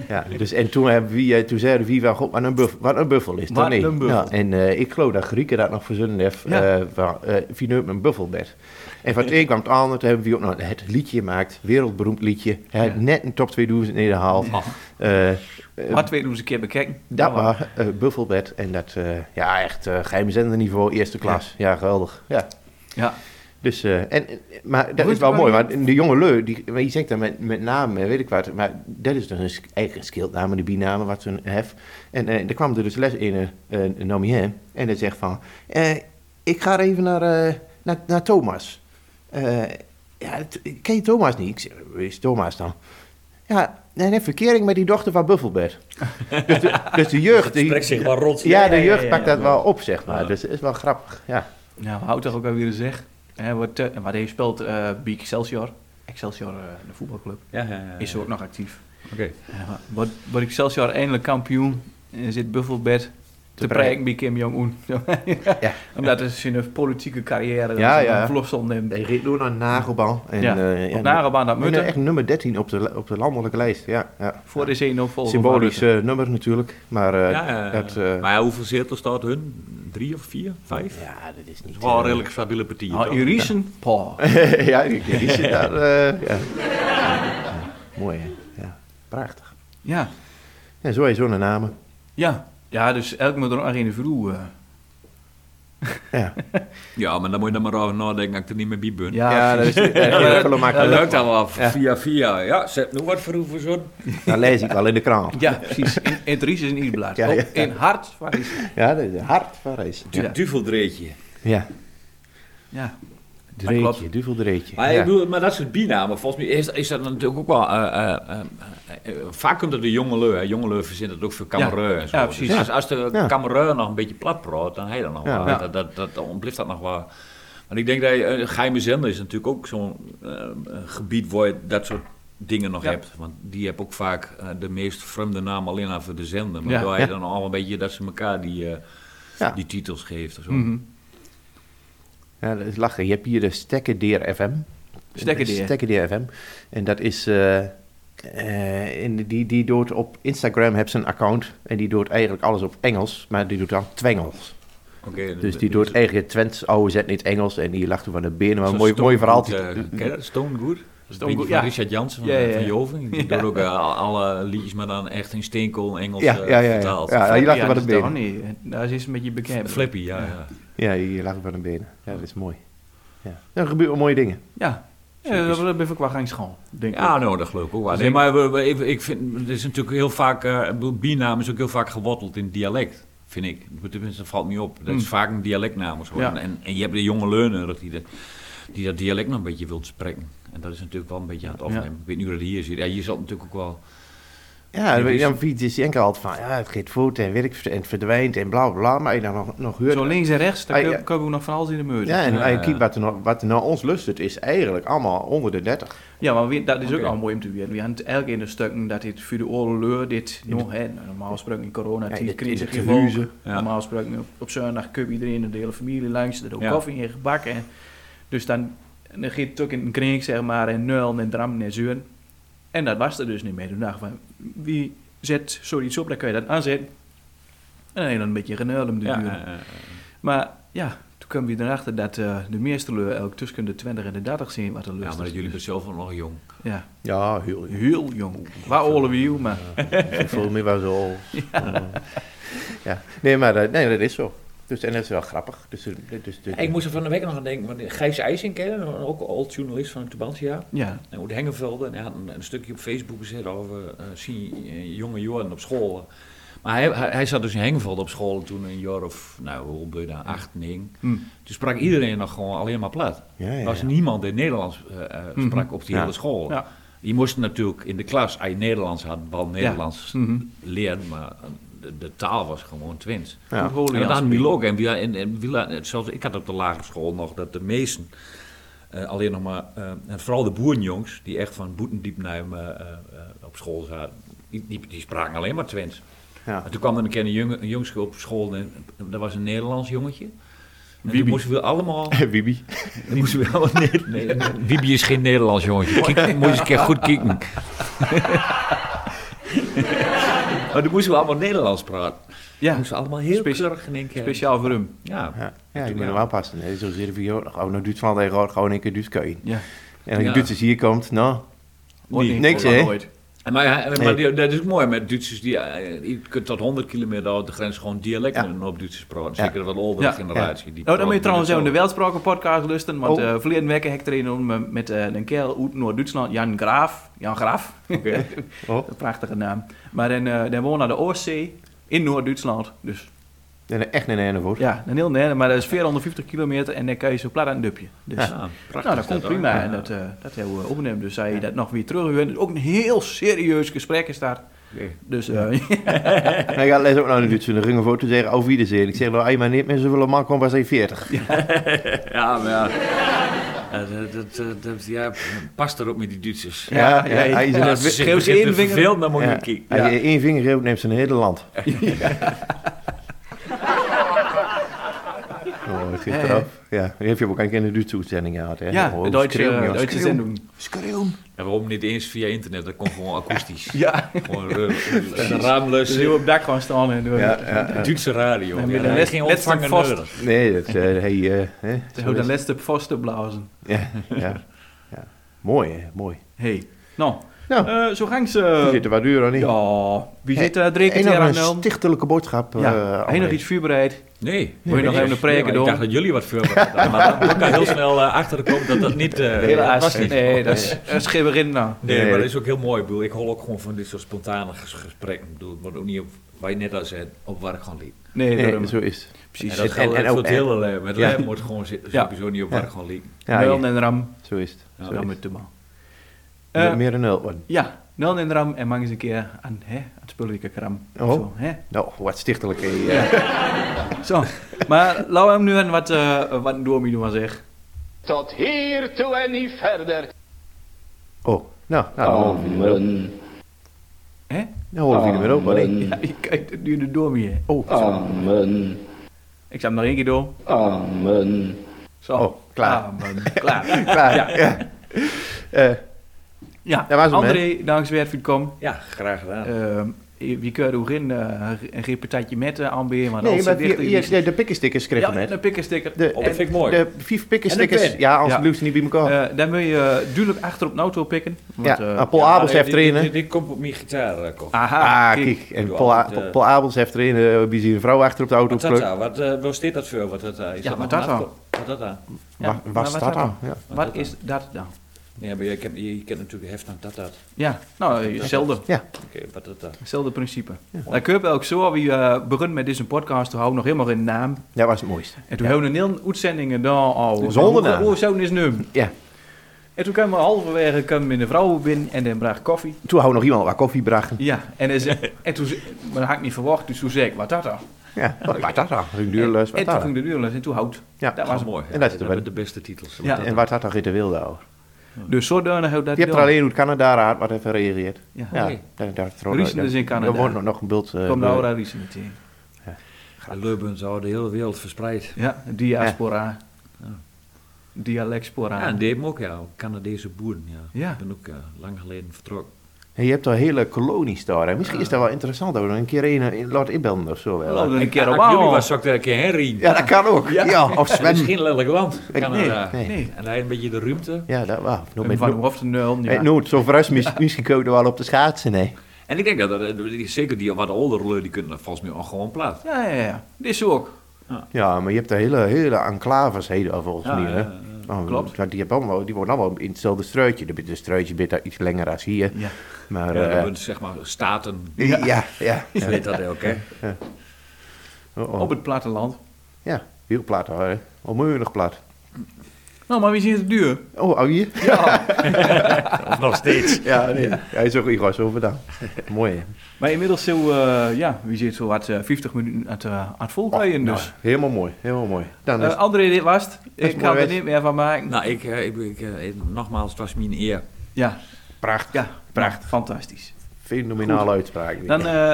S4: Ja, dus, en toen, hebben we, eh, toen zeiden we, van, "God, wat een, buff, wat een buffel is dat?
S3: Wat
S4: nee.
S3: een buffel.
S4: Nou, en eh, ik geloof dat Grieken dat nog verzonnen heeft,
S3: Ja.
S4: eh, van, eh, wie neemt een buffelbed. En van het een kwam het ander, toen hebben we ook nog het liedje gemaakt, wereldberoemd liedje. Hij had net een top 2000 in de haal. Eh, eh,
S3: wat weet hoe ze een keer bekijken. Nou,
S4: dat was eh, buffelbed en dat, eh, ja echt eh geheimzenderniveau, eerste klas. Ja, geweldig. Ja.
S3: Ja.
S4: Dus, eh, en, eh, maar dat
S3: Goed,
S4: is wel
S3: maar-
S4: mooi, want de jonge leu, die, maar je zegt dan met, met namen, en weet ik wat, maar dat is dus een sk- eigen schildnaam, de binamen wat ze hebben. En eh er kwam er dus les in, eh eh, Namien, en hij zegt van, eh, ik ga even naar, eh, naar, naar Thomas. Eh, ja, t- ken je Thomas niet? Ik zeg, wie is Thomas dan? Ja, hij heeft verkering met die dochter van Buffelbed. dus, de, dus de jeugd, die-
S5: Trek zich maar rot.
S4: ja, de
S3: ja,
S4: jeugd
S3: ja,
S4: pakt
S3: ja.
S4: dat wel op, zeg maar. Dus het is wel grappig, ja.
S3: Nou, houdt toch ook alweer een zeg. Hè, wat, eh, wat hij speelt, eh bij Excelsior. Excelsior, eh, de voetbalclub,
S5: Ja, ja, ja.
S3: is ook nog actief.
S5: Oké.
S3: Eh, Wordt wordt Excelsior eindelijk kampioen, en zit Buffelbed te prijken bij Kim Jong-un.
S4: Ja.
S3: Omdat het zijn politieke carrière dat
S4: Ja,
S3: ze
S4: ja.
S3: een vlofsel neemt.
S4: Hij reed door naar Nagelbaan. En,
S3: Ja,
S4: eh,
S3: op Nagelbaan naar
S4: en,
S3: Mutten.
S4: eh, echt nummer 13 op de, op de landelijke lijst. Ja, ja.
S3: Voor de zenuwvolger.
S4: Symbolisch eh, nummer natuurlijk. Maar eh,
S5: Ja, ja, ja.
S4: dat... eh,
S5: Maar ja, hoeveel zetels staat hun? Drie of vier? Vijf? Dat
S4: ja, dat is niet...
S5: is wel
S4: eh,
S5: een redelijk stabiele partij.
S3: Ah,
S5: toch?
S3: Iriesen? Pah.
S4: ja, die, die zit daar... eh, ja. Mooi, hè? Ja, prachtig.
S3: Ja,
S4: En zo heeft zo'n namen.
S3: ja. Ja, dus elk moet er nog in de vroeg. eh.
S4: Ja,
S5: Ja, maar dan moet je dan maar over nadenken dat ik er niet meer bij ben.
S3: Ja,
S4: ja dat is eh,
S3: maar-
S4: heel
S5: Dat
S4: makkelijk.
S5: lukt dan wel
S4: Ja.
S5: via via. Ja, zet nu wat voor hoeveel zo'n.
S4: Dat lees ik wel in de krant.
S3: ja, precies. In, in het Ries is een Ierblaad.
S4: Ja, ja.
S3: Ook In hart van Ries.
S4: Ja, dat is hard van reis.
S3: Ja.
S5: Duveldreetje.
S4: Ja,
S3: Ja.
S4: dreetje,
S3: klopt.
S4: duveldreetje.
S5: Maar, ik
S4: Ja.
S5: bedoel, maar dat soort binamen, volgens mij is, is dat natuurlijk ook wel... eh, eh, eh, eh, vaak komt het de jongelui, hè. Jongelui verzint het ook voor kamereu en zo.
S3: Ja, precies.
S5: Dus als, als de
S4: Ja.
S5: kamereu nog een beetje plat praat, dan heet dat nog
S4: Ja.
S5: wel.
S3: Ja.
S5: Dat, dat, dat, dan ontblijft dat nog wel. Want ik denk dat je, eh, geheime zender is natuurlijk ook zo'n eh, gebied waar je dat soort dingen nog
S3: Ja.
S5: hebt. Want die heb ook vaak eh, de meest vreemde naam alleen maar voor de zender. Maar
S3: Ja.
S5: daar heb je
S4: Ja.
S5: dan allemaal een beetje dat ze elkaar die, eh,
S4: Ja.
S5: die titels geeft of zo.
S3: Mhm.
S4: Ja, dat is lachen. Je hebt hier de Stekkerdeer FM.
S3: Stekkerdeer.
S4: Stekkerdeer FM. En dat is... eh, eh, en die, die doet op Instagram, heeft ze een account. En die doet eigenlijk alles op Engels. Maar die doet dan Twengels.
S5: Oké,
S4: Dus die
S5: dat-
S4: doet eigenlijk Twents, oude zet niet Engels. En die lachte van de benen. Maar
S5: Zo'n
S4: mooi, mooi Mm-hmm. verhaal.
S5: Stonegoed, eh, ken je dat? Stonegoed?
S3: Stonegoed,
S5: Beetje van
S3: ja.
S5: Richard Jansen van, eh,
S3: Ja, ja,
S5: van
S3: ja.
S5: Joving. Die doet ook eh, al- alle liedjes, maar dan echt in steenkool Engels
S4: Ja,
S5: eh,
S4: ja, ja, ja.
S5: vertaald.
S4: ja. Ah, Je lacht
S3: Ja,
S4: van de
S3: dat is toch
S4: benen.
S3: niet. eh, Daar is een beetje bekend.
S5: Flippy, ja, ja.
S4: Ja, je lacht van de benen. Ja, dat is mooi. Ja. Er gebeuren mooie dingen.
S3: Ja. Ja, dat dat ben ik wel geen schoon, denk ik.
S5: Ja, nou, dat geloof ik ook wel. Nee, maar we- we- ik, ik vind, er is natuurlijk heel vaak, eh, ik bedoel, binaam is ook heel vaak geworteld in dialect, vind ik. Tenminste, dat valt me op. Dat is
S3: Hmm.
S5: vaak een dialectnaam of zo.
S3: Ja.
S5: En, en je hebt de jonge leuner die, dat- die dat dialect nog een beetje wilt spreken. En dat is natuurlijk wel een beetje aan het afnemen.
S3: Ja.
S5: Ik weet niet hoe dat hier zit. Ja, hier zat natuurlijk ook wel...
S4: Ja,
S5: die is-
S4: dan is die enkel altijd van... Ja, het gaat voort en weet ik, veel, en het verdwijnt en bla bla, bla. Maar je dan nog, nog hoort...
S3: Zo links en rechts, daar
S4: Ah,
S3: kun-
S4: ja.
S3: kunnen we nog van alles in de meurt.
S4: Ja, en,
S5: Ja,
S4: en
S5: ja.
S4: kijk, wat er, nou, wat er nou ons lust het is eigenlijk allemaal onder de 30.
S3: Ja, maar we- dat is ook
S5: Oké.
S3: al mooi om te weten. We hadden elk in de stukken dat dit voor de oorlog dit nog, hè, nou, normaal gesproken in corona,
S4: Ja, in de-
S3: die crisis
S4: in de
S3: gevolgen.
S4: tehuizen.
S5: Ja.
S3: Normaal gesproken op, op zondag kun je iedereen de hele familie langs, er ook
S5: Ja.
S3: koffie en gebak. En, dus dan, dan gaat het ook in een kring, zeg maar, en nul en dram en zeuren. En dat was er dus niet mee. Toen dacht ik van, wie zet zoiets op, dan kun je dat aanzetten. En dan heb je dan een beetje genuil om de
S5: Ja,
S3: duur.
S5: eh, eh,
S3: Maar ja, toen kwam je erachter dat eh, de meeste leur elk tussen de 20 en de 30 zijn wat er lust
S5: ja, maar
S3: is. Dus,
S5: dat jullie zijn zelf ook nog jong.
S3: Ja.
S4: Ja, heel
S3: Heel jong. Waar oorlog wie maar...
S4: Veel meer wel zo. Ja. Nee, maar eh, nee, dat is zo. Dus, en dat is wel grappig. Dus, eh, dus, dus-
S5: Ik moest er van de week nog aan denken, want Gijs IJsing kennen, ook een old journalist van Tubantia. Nou,
S3: Ja,
S5: En Oud Hengelvelde, en hij had een, een stukje op Facebook gezet over eh, zien eh, jonge jongeren op school. Maar Maar hij, hij, hij zat dus in Hengveld op school toen een jaar of, nou, hoe ben je daar, acht, negen.
S3: Hmm.
S5: Toen sprak iedereen nog gewoon alleen maar plat.
S4: Ja, ja,
S5: Er was
S4: ja.
S5: niemand in Nederlands eh, eh, sprak op die
S4: Ja.
S5: hele school.
S3: Mhm. Ja.
S5: Je moest natuurlijk in de klas, als je Nederlands had, wel Nederlands
S3: Mhm.
S5: leren, maar de, de taal was gewoon Twins.
S4: Ja.
S3: Goed
S5: En
S3: Holians
S5: dat hadden we
S3: spelen.
S5: ook. En, we- en, en we- en zelfs ik had op de lagere school nog dat de meesten, eh, alleen nog maar, eh, en vooral de boerenjongs, die echt van Boetendiepnijm eh, eh, eh, op school zaten, die, die, die spraken alleen maar Twents.
S4: Ja.
S5: En toen kwam er een keer een, jongen, een jongske op school, en dat was een Nederlands jongetje. En
S3: Wiebe.
S5: toen moesten we allemaal...
S4: Bibi.
S5: Dan moesten we wel... Nee, nee, nee. Wiebe is geen Nederlands jongetje. Kijk, moet je eens een keer goed kijken. maar dan moesten we allemaal Nederlands praten.
S3: Ja.
S5: moesten we allemaal heel
S3: Specia-
S5: keurig in één keer...
S3: Speciaal voor hem.
S5: Ja.
S4: Ja, ja, ik ben hem aanpassen. Nee, zo zitten we hier ook nog. Oh, nou Duitsland tegen hoor, gewoon een keer Duits kan je.
S3: Ja.
S4: En als je
S5: Ja.
S4: Duitsers hier komt, nou,
S3: Wordt niet,
S4: niks,
S3: wordt
S4: hè?
S3: nooit.
S5: En Maar, ja, maar
S4: Nee.
S5: die- dat is mooi met Duitsers. Die, eh, je kunt tot 100 kilometer over de grens gewoon dialecten op Duitsers praten. Zeker wat de oudere
S3: Ja.
S5: generatie.
S3: Nou, dan
S5: Die praten
S3: moet je trouwens
S5: met
S3: even de
S5: zo.
S3: Weltspraken podcast luisteren. Want
S4: Oh.
S3: eh verleden week heb ik er een om, eh, met eh, een kerel uit Noord-Duitsland, Jan Graaf. Jan Graaf,
S4: oh,
S3: Een prachtige naam. Maar dan, eh dan woont aan de Oostzee in Noord-Duitsland. Dus
S4: dan echt een ene woord.
S3: ja, een heel nerve, maar dat is 450 kilometer en dan kan je zo plat aan een dupje. Dus,
S5: Ja, prachtig
S3: Nou, dat komt
S5: hoor.
S3: prima.
S5: Ja.
S3: En dat, eh dat hebben we opgenomen. Dus zij dat nog weer terug. wil. Ook een heel serieus gesprek is daar.
S5: Oké.
S3: Dus eh,
S4: En ik ga les ook naar de Duitsers en ringen voor te zeggen, over wiederzien. Ik zeg, nou, eenmaal niet meer zoveel man komt, was hij 40.
S5: Ja, maar ja. Eh, dat, dat, dat, dat- ja, past erop met die Duitsers.
S4: Ja, ja,
S3: ja,
S4: hij is
S5: Ja,
S4: een
S5: ze
S3: geef
S5: zitten
S3: ze
S5: ze
S3: één
S5: te
S3: vinger.
S5: verveeld naar
S4: Ja.
S5: Moniki. Ja.
S4: Als je één vinger geeft, neemt ze een hele land. Oh, het geeft
S3: Ja, ja.
S4: eraf. Ja, die heeft je ook een keer in de Duitse uitzending gehad, hè?
S3: ja,
S4: Oh,
S3: de Duitse,
S4: schreeuwen,
S3: eh,
S4: jongen,
S3: Duitse
S4: schreeuwen.
S3: zending.
S5: En waarom niet eens via internet? Dat komt gewoon akoestisch.
S3: Ja,
S5: Gewoon eh, een
S3: dus
S5: raamloos.
S3: heel op het dak gewoon staan. En, eh,
S4: Ja, ja, ja.
S5: Duitse radio.
S3: En
S5: Ja,
S3: met
S5: ja,
S3: een les-
S5: geen
S3: les van
S5: ontvanger
S3: vast.
S5: nodig.
S4: Nee, dat, eh hey, eh, hè, zo
S3: Zo de
S4: is-
S3: laatste vast te blazen.
S4: Ja, ja, ja. Mooi, hè, mooi.
S3: Hey. Nou,
S4: Nou,
S3: eh, zo gang
S4: we
S3: ze.
S4: zitten wat duur, niet?
S3: ja, wie zit er drie
S4: En
S3: keer
S4: nog
S3: aan
S4: een
S3: nul?
S4: stichtelijke boodschap. eh,
S3: Ja,
S4: André.
S3: hij nog iets voorbereid.
S5: Nee.
S3: Moet je nog
S5: Nee,
S3: even een preken
S5: nee,
S3: doen?
S5: Ik dacht dat jullie wat voorbereid hadden. Maar dan kan heel snel eh, achter de kop dat dat niet... eh,
S4: Nee, dat
S5: past
S4: was
S5: niet.
S3: Nee, dat is, dat is geen begin nou.
S5: Nee,
S4: Nee.
S5: maar dat is ook heel mooi. Ik, bedoel, ik hol ook gewoon van dit soort spontane ges- gesprekken. Ik bedoel, het wordt ook niet op, waar je net al zei, op waar ik gewoon liep.
S3: Nee,
S4: Nee,
S3: daarom.
S4: zo is het.
S5: En
S3: precies.
S5: dat geldt
S4: en
S5: ook voor
S4: ook-
S5: het hele lijm. Het
S4: Ja.
S5: lijm wordt gewoon zi- sowieso niet op waar ik gewoon liep.
S4: Ja,
S3: Nul
S4: ja,
S3: en ram.
S4: zo is het.
S5: Ja.
S3: Zo
S4: Zo is
S3: met
S4: het.
S3: de man.
S4: Meer-
S3: Eh
S4: Meer dan nul. worden.
S3: ja, nul en ram en mag eens een keer aan, hè, aan het spulletje kram.
S4: Oh.
S3: Zo, hè.
S4: Nou, wat stichtelijk. hè, eh. ja.
S3: Zo. Maar laten we hem nu aan wat, eh wat een doormie doen, zeg.
S6: Tot hier toe en niet verder.
S4: Oh, nou, nou, dan houden we die er ook.
S6: Amen.
S3: Hè?
S4: Dan houden we die er ook, maar nee.
S6: Amen.
S3: Ik kijk nu de doormie, hè.
S4: Oh, zo.
S6: Amen.
S3: Ik zat hem nog één keer door.
S6: Amen.
S3: Zo.
S4: Oh, klaar.
S3: Ah, man, klaar.
S4: Klaar, ja. Eh,
S3: Ja,
S4: Dat was hem,
S3: André, dankzij voor het komen.
S5: Ja, graag gedaan.
S3: Ehm, wie kan er ook in eh, een reportage met eh aanbieden, maar
S4: nee,
S3: als
S4: maar
S3: ze dichter
S4: hier- hier-
S3: is-
S4: de, de pikkenstickers
S3: Ja,
S4: kregen we
S3: en een
S4: net.
S3: pikkensticker.
S4: De,
S5: Oh, dat vind ik mooi.
S4: De vijf
S5: En
S4: pikkenstickers.
S5: een pen.
S4: Ja, anders
S3: Ja.
S4: blijft ze niet bij elkaar.
S3: Eh, dan moet je eh, duidelijk achter op een auto pikken. Want,
S4: Oh. ja,
S3: eh,
S4: en Paul Abels heeft
S5: dit,
S4: trainen.
S5: dit, dit komt op mijn gitaar, eh, Cor.
S3: aha,
S4: Ah,
S3: kijk.
S4: kijk. En
S5: doe
S4: Paul, A-
S5: altijd, eh,
S4: Paul Abels heeft trainen. Uh, een vrouw achter op de auto.
S5: Wat dat daar? Wat eh, was dit dat voor? Wat dat daar? Is
S3: Ja,
S5: dat
S3: wat
S5: nog
S3: dat
S5: een
S3: dan?
S5: afko- Wat dat
S3: Ja,
S5: daar?
S4: Waar
S3: maar
S4: was dat aan? Ja.
S3: Wat is dat dan?
S5: Nee, maar je kent, je kent natuurlijk heft aan dat dat.
S3: Ja, nou, eh, hetzelfde.
S5: Oké, wat dat daar.
S3: Hetzelfde principe. Dan kun je ook zo, wie eh begint met deze podcast, toen houden we nog helemaal geen naam.
S4: Dat was het mooiste.
S3: En toen hebben we een hele uitzending gedaan. Oh,
S4: Zonder
S3: hoe-
S4: naam.
S3: Hoe zo'n is nu?
S4: Ja.
S3: En toen kwamen we halverwege kwamen we in de vrouwen binnen en dan bracht koffie.
S4: Toen had nog iemand wat koffie bracht.
S3: Ja, en, hij zei- en toen, ze- maar dat had ik niet verwacht, dus toen zei ik, wat dat dan?
S4: Ja, wat dat dan? Een duurlus, wat
S3: En toen
S4: dat
S3: ging
S4: dan?
S3: de duurles en toen hout.
S4: Ja.
S3: Dat was
S5: Oh, mooi.
S4: En dat is
S5: Ja,
S4: de-
S5: hebben de beste titels.
S3: Ja.
S4: En wat had dat in de wilde over?
S3: Dus zodanig houdt dat
S4: Je hebt er
S3: gedaan.
S4: alleen uit Canada raad wat even reageert.
S3: Ja.
S4: Ja,
S5: Oké.
S4: daar, daar,
S3: Riesen is in Canada.
S4: Er wordt nog, nog een bult. eh, bult.
S3: Kom Laura Riesen meteen.
S5: Leubens over de hele wereld verspreid.
S3: Ja, diaspora. Dialectspora.
S5: Ja, en die hebben ook, ja, Canadese boeren. Ja.
S3: Ja.
S5: Ik ben ook eh, lang geleden vertrokken.
S4: Hey, je hebt al hele kolonies daar. hè. Misschien is dat wel interessant. Dat we nog een keer een eh, laat inbellen of zo. wel.
S3: Laten we een keer
S5: Als
S3: op
S5: ik jullie
S3: aan.
S5: was, zou ik daar een keer heen rijden.
S4: Ja, dat kan ook. Ja, of
S5: Het is
S4: zwemmen.
S5: geen lelijk land, Canada.
S4: nee,
S3: nee.
S5: En hij een beetje de ruimte.
S4: Ja, dat waar. Nou,
S3: Van Hoofd en Nul.
S4: Hey, Noord, zo verrast mis- misschien kunnen we er wel op de schaatsen. Nee.
S5: En ik denk dat, er- eh, die- zeker die wat oudere lui, die kunnen er volgens mij ook gewoon plaat.
S3: Ja, ja, ja. Dit is ook.
S4: Ja, maar je hebt er hele, hele enclaves heden volgens
S5: Ja,
S4: mij. Hè?
S5: ja, ja.
S4: Oh,
S3: Klopt.
S4: want Die, hebben allemaal, die worden allemaal in hetzelfde struitje. De, de struitje bit daar iets langer als hier.
S3: Ja.
S4: Maar,
S5: Ja,
S4: eh,
S5: dat wordt, zeg maar staten.
S4: ja, ja. ja.
S5: Je weet dat ook, hè?
S4: Oh, oh.
S3: Op het platteland.
S4: Ja, heel plat hoor. hè. Onmogelijk plat.
S3: Nou, maar wie ziet het duur?
S4: Oh, oh hier?
S5: Of nog steeds.
S4: Ja, nee. Hij is ook Igor over dan. Mooi. hè.
S3: Maar inmiddels zo, eh, ja, wie zit zo wat eh, 50 minuten aan het, eh, aan het volkrijgen
S4: Nou,
S3: dus.
S4: helemaal mooi, helemaal mooi. Dan is
S3: Eh, André, dit was het.
S4: is
S3: Ik
S4: mooi
S3: kan er
S4: weg.
S3: niet meer van maken.
S5: Nou, ik, eh, ik, ik, eh, nogmaals, het was mijn eer.
S3: Ja,
S4: prachtig.
S3: ja.
S4: Prachtig.
S3: Fantastisch.
S4: Fenomenale uitspraak. weer.
S3: Dan eh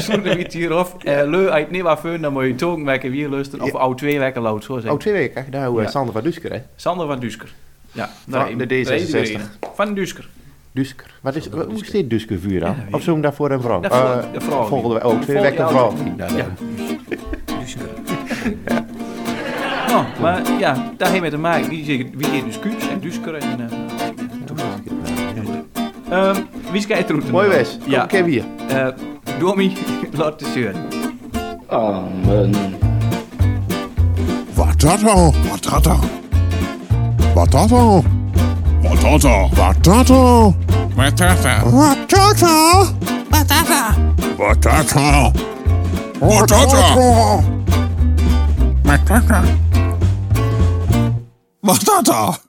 S3: sluiten we het hier af. Eh leu, uit niet wat fun, dan moet je token werken weer luisteren. Of
S4: Ja.
S3: oud twee weken lood, zo zeggen.
S4: oh, twee weken. hè? Nou, eh,
S3: Ja.
S4: Sander van Dusker, hè?
S3: Sander van Dusker. Ja,
S4: Van de
S3: iedereen.
S4: D66.
S3: Van Dusker.
S4: Dusker. Wat is, hoe zit Dusker vuur dan? of zoeken we daarvoor een vrouw?
S3: Ja, voor-
S4: Eh,
S3: de vrouw.
S4: Volgende week. Oh, twee
S3: Vol-
S4: weken
S3: ja.
S4: een vrouw. Nou,
S3: Ja.
S4: dan.
S5: Dus, eh,
S3: Nou, maar ja, daar heeft met te maken. Wie zegt wie zegt dus Kuus en Dusker en... eh, Ehm, wie kijkt er
S4: Mooi Wes. Kom,
S3: Ja.
S4: ja. keer hier.
S3: Eh, Domi, laat de zeuren.
S6: Amen.
S1: Watata, watata. Watata,
S2: Matata.
S1: watata,
S2: Matata.
S1: watata.
S2: Matata. Matata. Matata. Matata.